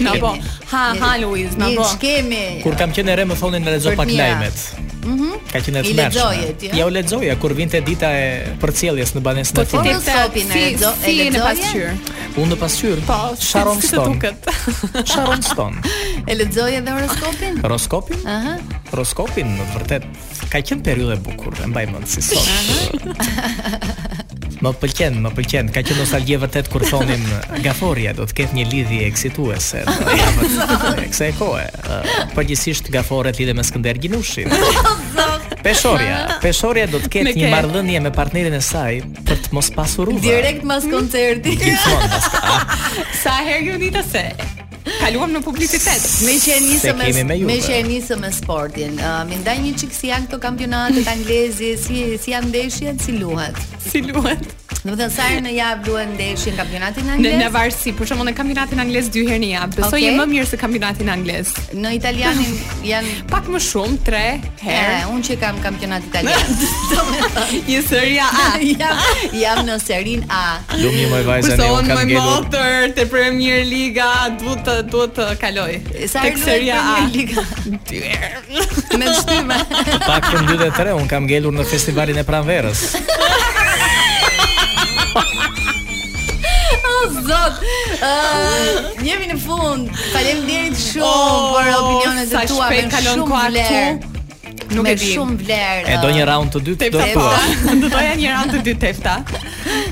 Speaker 8: Na po. Ha, ha, Luiz, na po.
Speaker 7: Ç'kemi?
Speaker 9: kur kam qenë e re më thonin në lexo
Speaker 7: Për
Speaker 9: pak
Speaker 7: mira.
Speaker 9: lajmet.
Speaker 7: Mhm.
Speaker 9: Ka qenë e
Speaker 7: I
Speaker 9: tmerrshme.
Speaker 7: lexoje ti, ha?
Speaker 9: Ja u lexoja kur vinte dita e përcjelljes në banesën e
Speaker 7: Po
Speaker 9: fundit.
Speaker 7: në sopin e
Speaker 8: si-
Speaker 7: lexo- e
Speaker 8: si në
Speaker 7: lexoje?
Speaker 8: pasqyrë.
Speaker 9: Unë në pasqyrë.
Speaker 8: Po,
Speaker 9: Sharon
Speaker 8: si- si të
Speaker 9: Stone.
Speaker 8: duket?
Speaker 9: Sharon Stone.
Speaker 7: E lexoje edhe horoskopin?
Speaker 9: Horoskopin?
Speaker 7: Aha.
Speaker 9: Horoskopin në të vërtet ka qenë periudhë e bukur, e mbaj mend si sot. Më pëlqen, më pëlqen. Ka qenë nostalgje vërtet kur thonin Gaforia do të ketë një lidhje eksituese. në javën e Kësaj kohe. Ë, Përgjithsisht Gaforet lidhe me Skënder Ginushin. Peshorja, Peshorja do të
Speaker 7: Me
Speaker 9: ketë
Speaker 7: ke.
Speaker 9: një marrëdhënie me partnerin e saj për të mos pasur uve.
Speaker 7: Direkt mas
Speaker 8: Hmm?
Speaker 7: koncerti.
Speaker 8: Sa herë ju nita se kaluam në publicitet.
Speaker 7: Me që e nisëm
Speaker 9: Se kemi me po. Juve.
Speaker 7: me që e nisëm me sportin. Uh, më ndaj një çik si janë këto kampionatet anglezi, si si janë ndeshjet, si luhet.
Speaker 8: Si luhet?
Speaker 7: Do të thënë sa herë në javë luhen ndeshjen kampionatin
Speaker 8: Në
Speaker 7: anglez?
Speaker 8: në varësi, për shembull në kampionatin anglez dy herë në javë. Besoj
Speaker 7: Okej.
Speaker 8: je më mirë se kampionatin anglez.
Speaker 7: Në italianin janë
Speaker 8: pak më shumë 3 herë.
Speaker 7: E, unë që kam kampionat italian. Domethënë,
Speaker 8: një seria A.
Speaker 7: Ah. jam jam në serin A.
Speaker 9: Lumi më e vajza
Speaker 8: Kurse
Speaker 9: ne unë
Speaker 8: unë
Speaker 9: kam
Speaker 8: më
Speaker 9: ngelur.
Speaker 8: motër te Premier Liga duhet të duhet të kaloj.
Speaker 7: Sa
Speaker 8: Tek
Speaker 7: herë
Speaker 8: seria
Speaker 7: luhet
Speaker 8: A.
Speaker 7: Premier Liga?
Speaker 8: Dy herë.
Speaker 7: Me shtyme.
Speaker 9: Pak të mbyllë e tre, unë kam ngelur në festivalin e pranverës.
Speaker 7: O zot. Ë, jemi në fund. Faleminderit shumë
Speaker 8: Oh,
Speaker 7: për opinionet
Speaker 8: sa
Speaker 7: e tua.
Speaker 8: shpejt
Speaker 7: me
Speaker 8: kalon
Speaker 7: shumë
Speaker 8: koha
Speaker 7: vlerë.
Speaker 8: Nuk
Speaker 7: me
Speaker 8: e di.
Speaker 7: shumë vlerë.
Speaker 9: E do një raund të dytë do
Speaker 8: Tefta.
Speaker 9: thua.
Speaker 8: Do doja një round të dy tefta.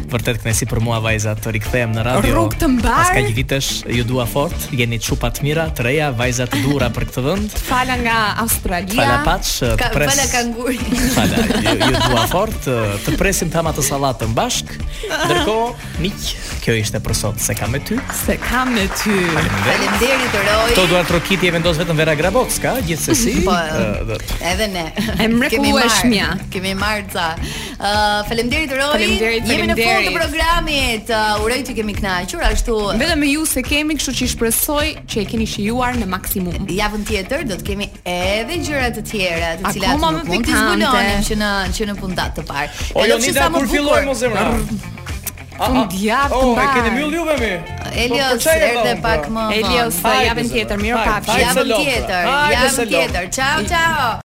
Speaker 9: Vërtet kënaqësi për mua vajza të rikthehem në radio.
Speaker 8: Rrugë të mbar.
Speaker 9: Pas kaq vitesh ju dua fort, jeni çupa të mira, të reja, vajza të dura për këtë vend.
Speaker 8: Fala nga Australia.
Speaker 9: Fala paç,
Speaker 7: Ka,
Speaker 9: pres.
Speaker 7: fala kanguri.
Speaker 9: Fala, ju, ju dua fort, të- të presim tama të sallatën bashk. Ndërkohë, miq, kjo ishte për sot se kam me ty.
Speaker 8: Se kam me ty.
Speaker 7: Faleminderit Roy.
Speaker 9: Këto duar trokiti e vendos vetëm Vera Grabocka, gjithsesi.
Speaker 7: Po.
Speaker 9: ë, dhe-
Speaker 7: Edhe ne.
Speaker 8: E mrekullueshmja.
Speaker 7: Kemi marr- Kemi marr ca. Ë, faleminderit Roy.
Speaker 8: Faleminderit,
Speaker 7: Jemi në fund të
Speaker 8: faleminderit.
Speaker 7: programit. Ë, uroj që kemi kënaqur ashtu.
Speaker 8: Vetëm me ju se kemi, kështu që i shpresoj që e keni shijuar në maksimum.
Speaker 7: Javën tjetër do të kemi edhe gjëra të tjera, të cilat
Speaker 8: Akoma
Speaker 7: nuk
Speaker 8: më
Speaker 7: mund t'i
Speaker 8: pikante.
Speaker 7: zbulonim që në që në puntat të parë.
Speaker 9: O
Speaker 7: Edhe pse
Speaker 9: Jonida
Speaker 7: sa më
Speaker 9: kur
Speaker 7: bukur-
Speaker 9: filloj mos zemra.
Speaker 8: Fund javë të
Speaker 9: Oh, e
Speaker 8: mbar.
Speaker 9: keni mbyll juve mi. Po,
Speaker 7: Elios
Speaker 9: po, çaj e
Speaker 7: erdhe
Speaker 9: vëmë,
Speaker 7: pak
Speaker 9: po.
Speaker 7: më.
Speaker 8: Elios,
Speaker 7: vonë.
Speaker 8: javën tjetër, mirë
Speaker 9: Hajde,
Speaker 8: pafshim.
Speaker 9: hajde se
Speaker 7: Javën
Speaker 9: lopra.
Speaker 7: tjetër,
Speaker 9: Hajde se
Speaker 7: javën
Speaker 9: lopra.
Speaker 7: tjetër. Ciao, ciao.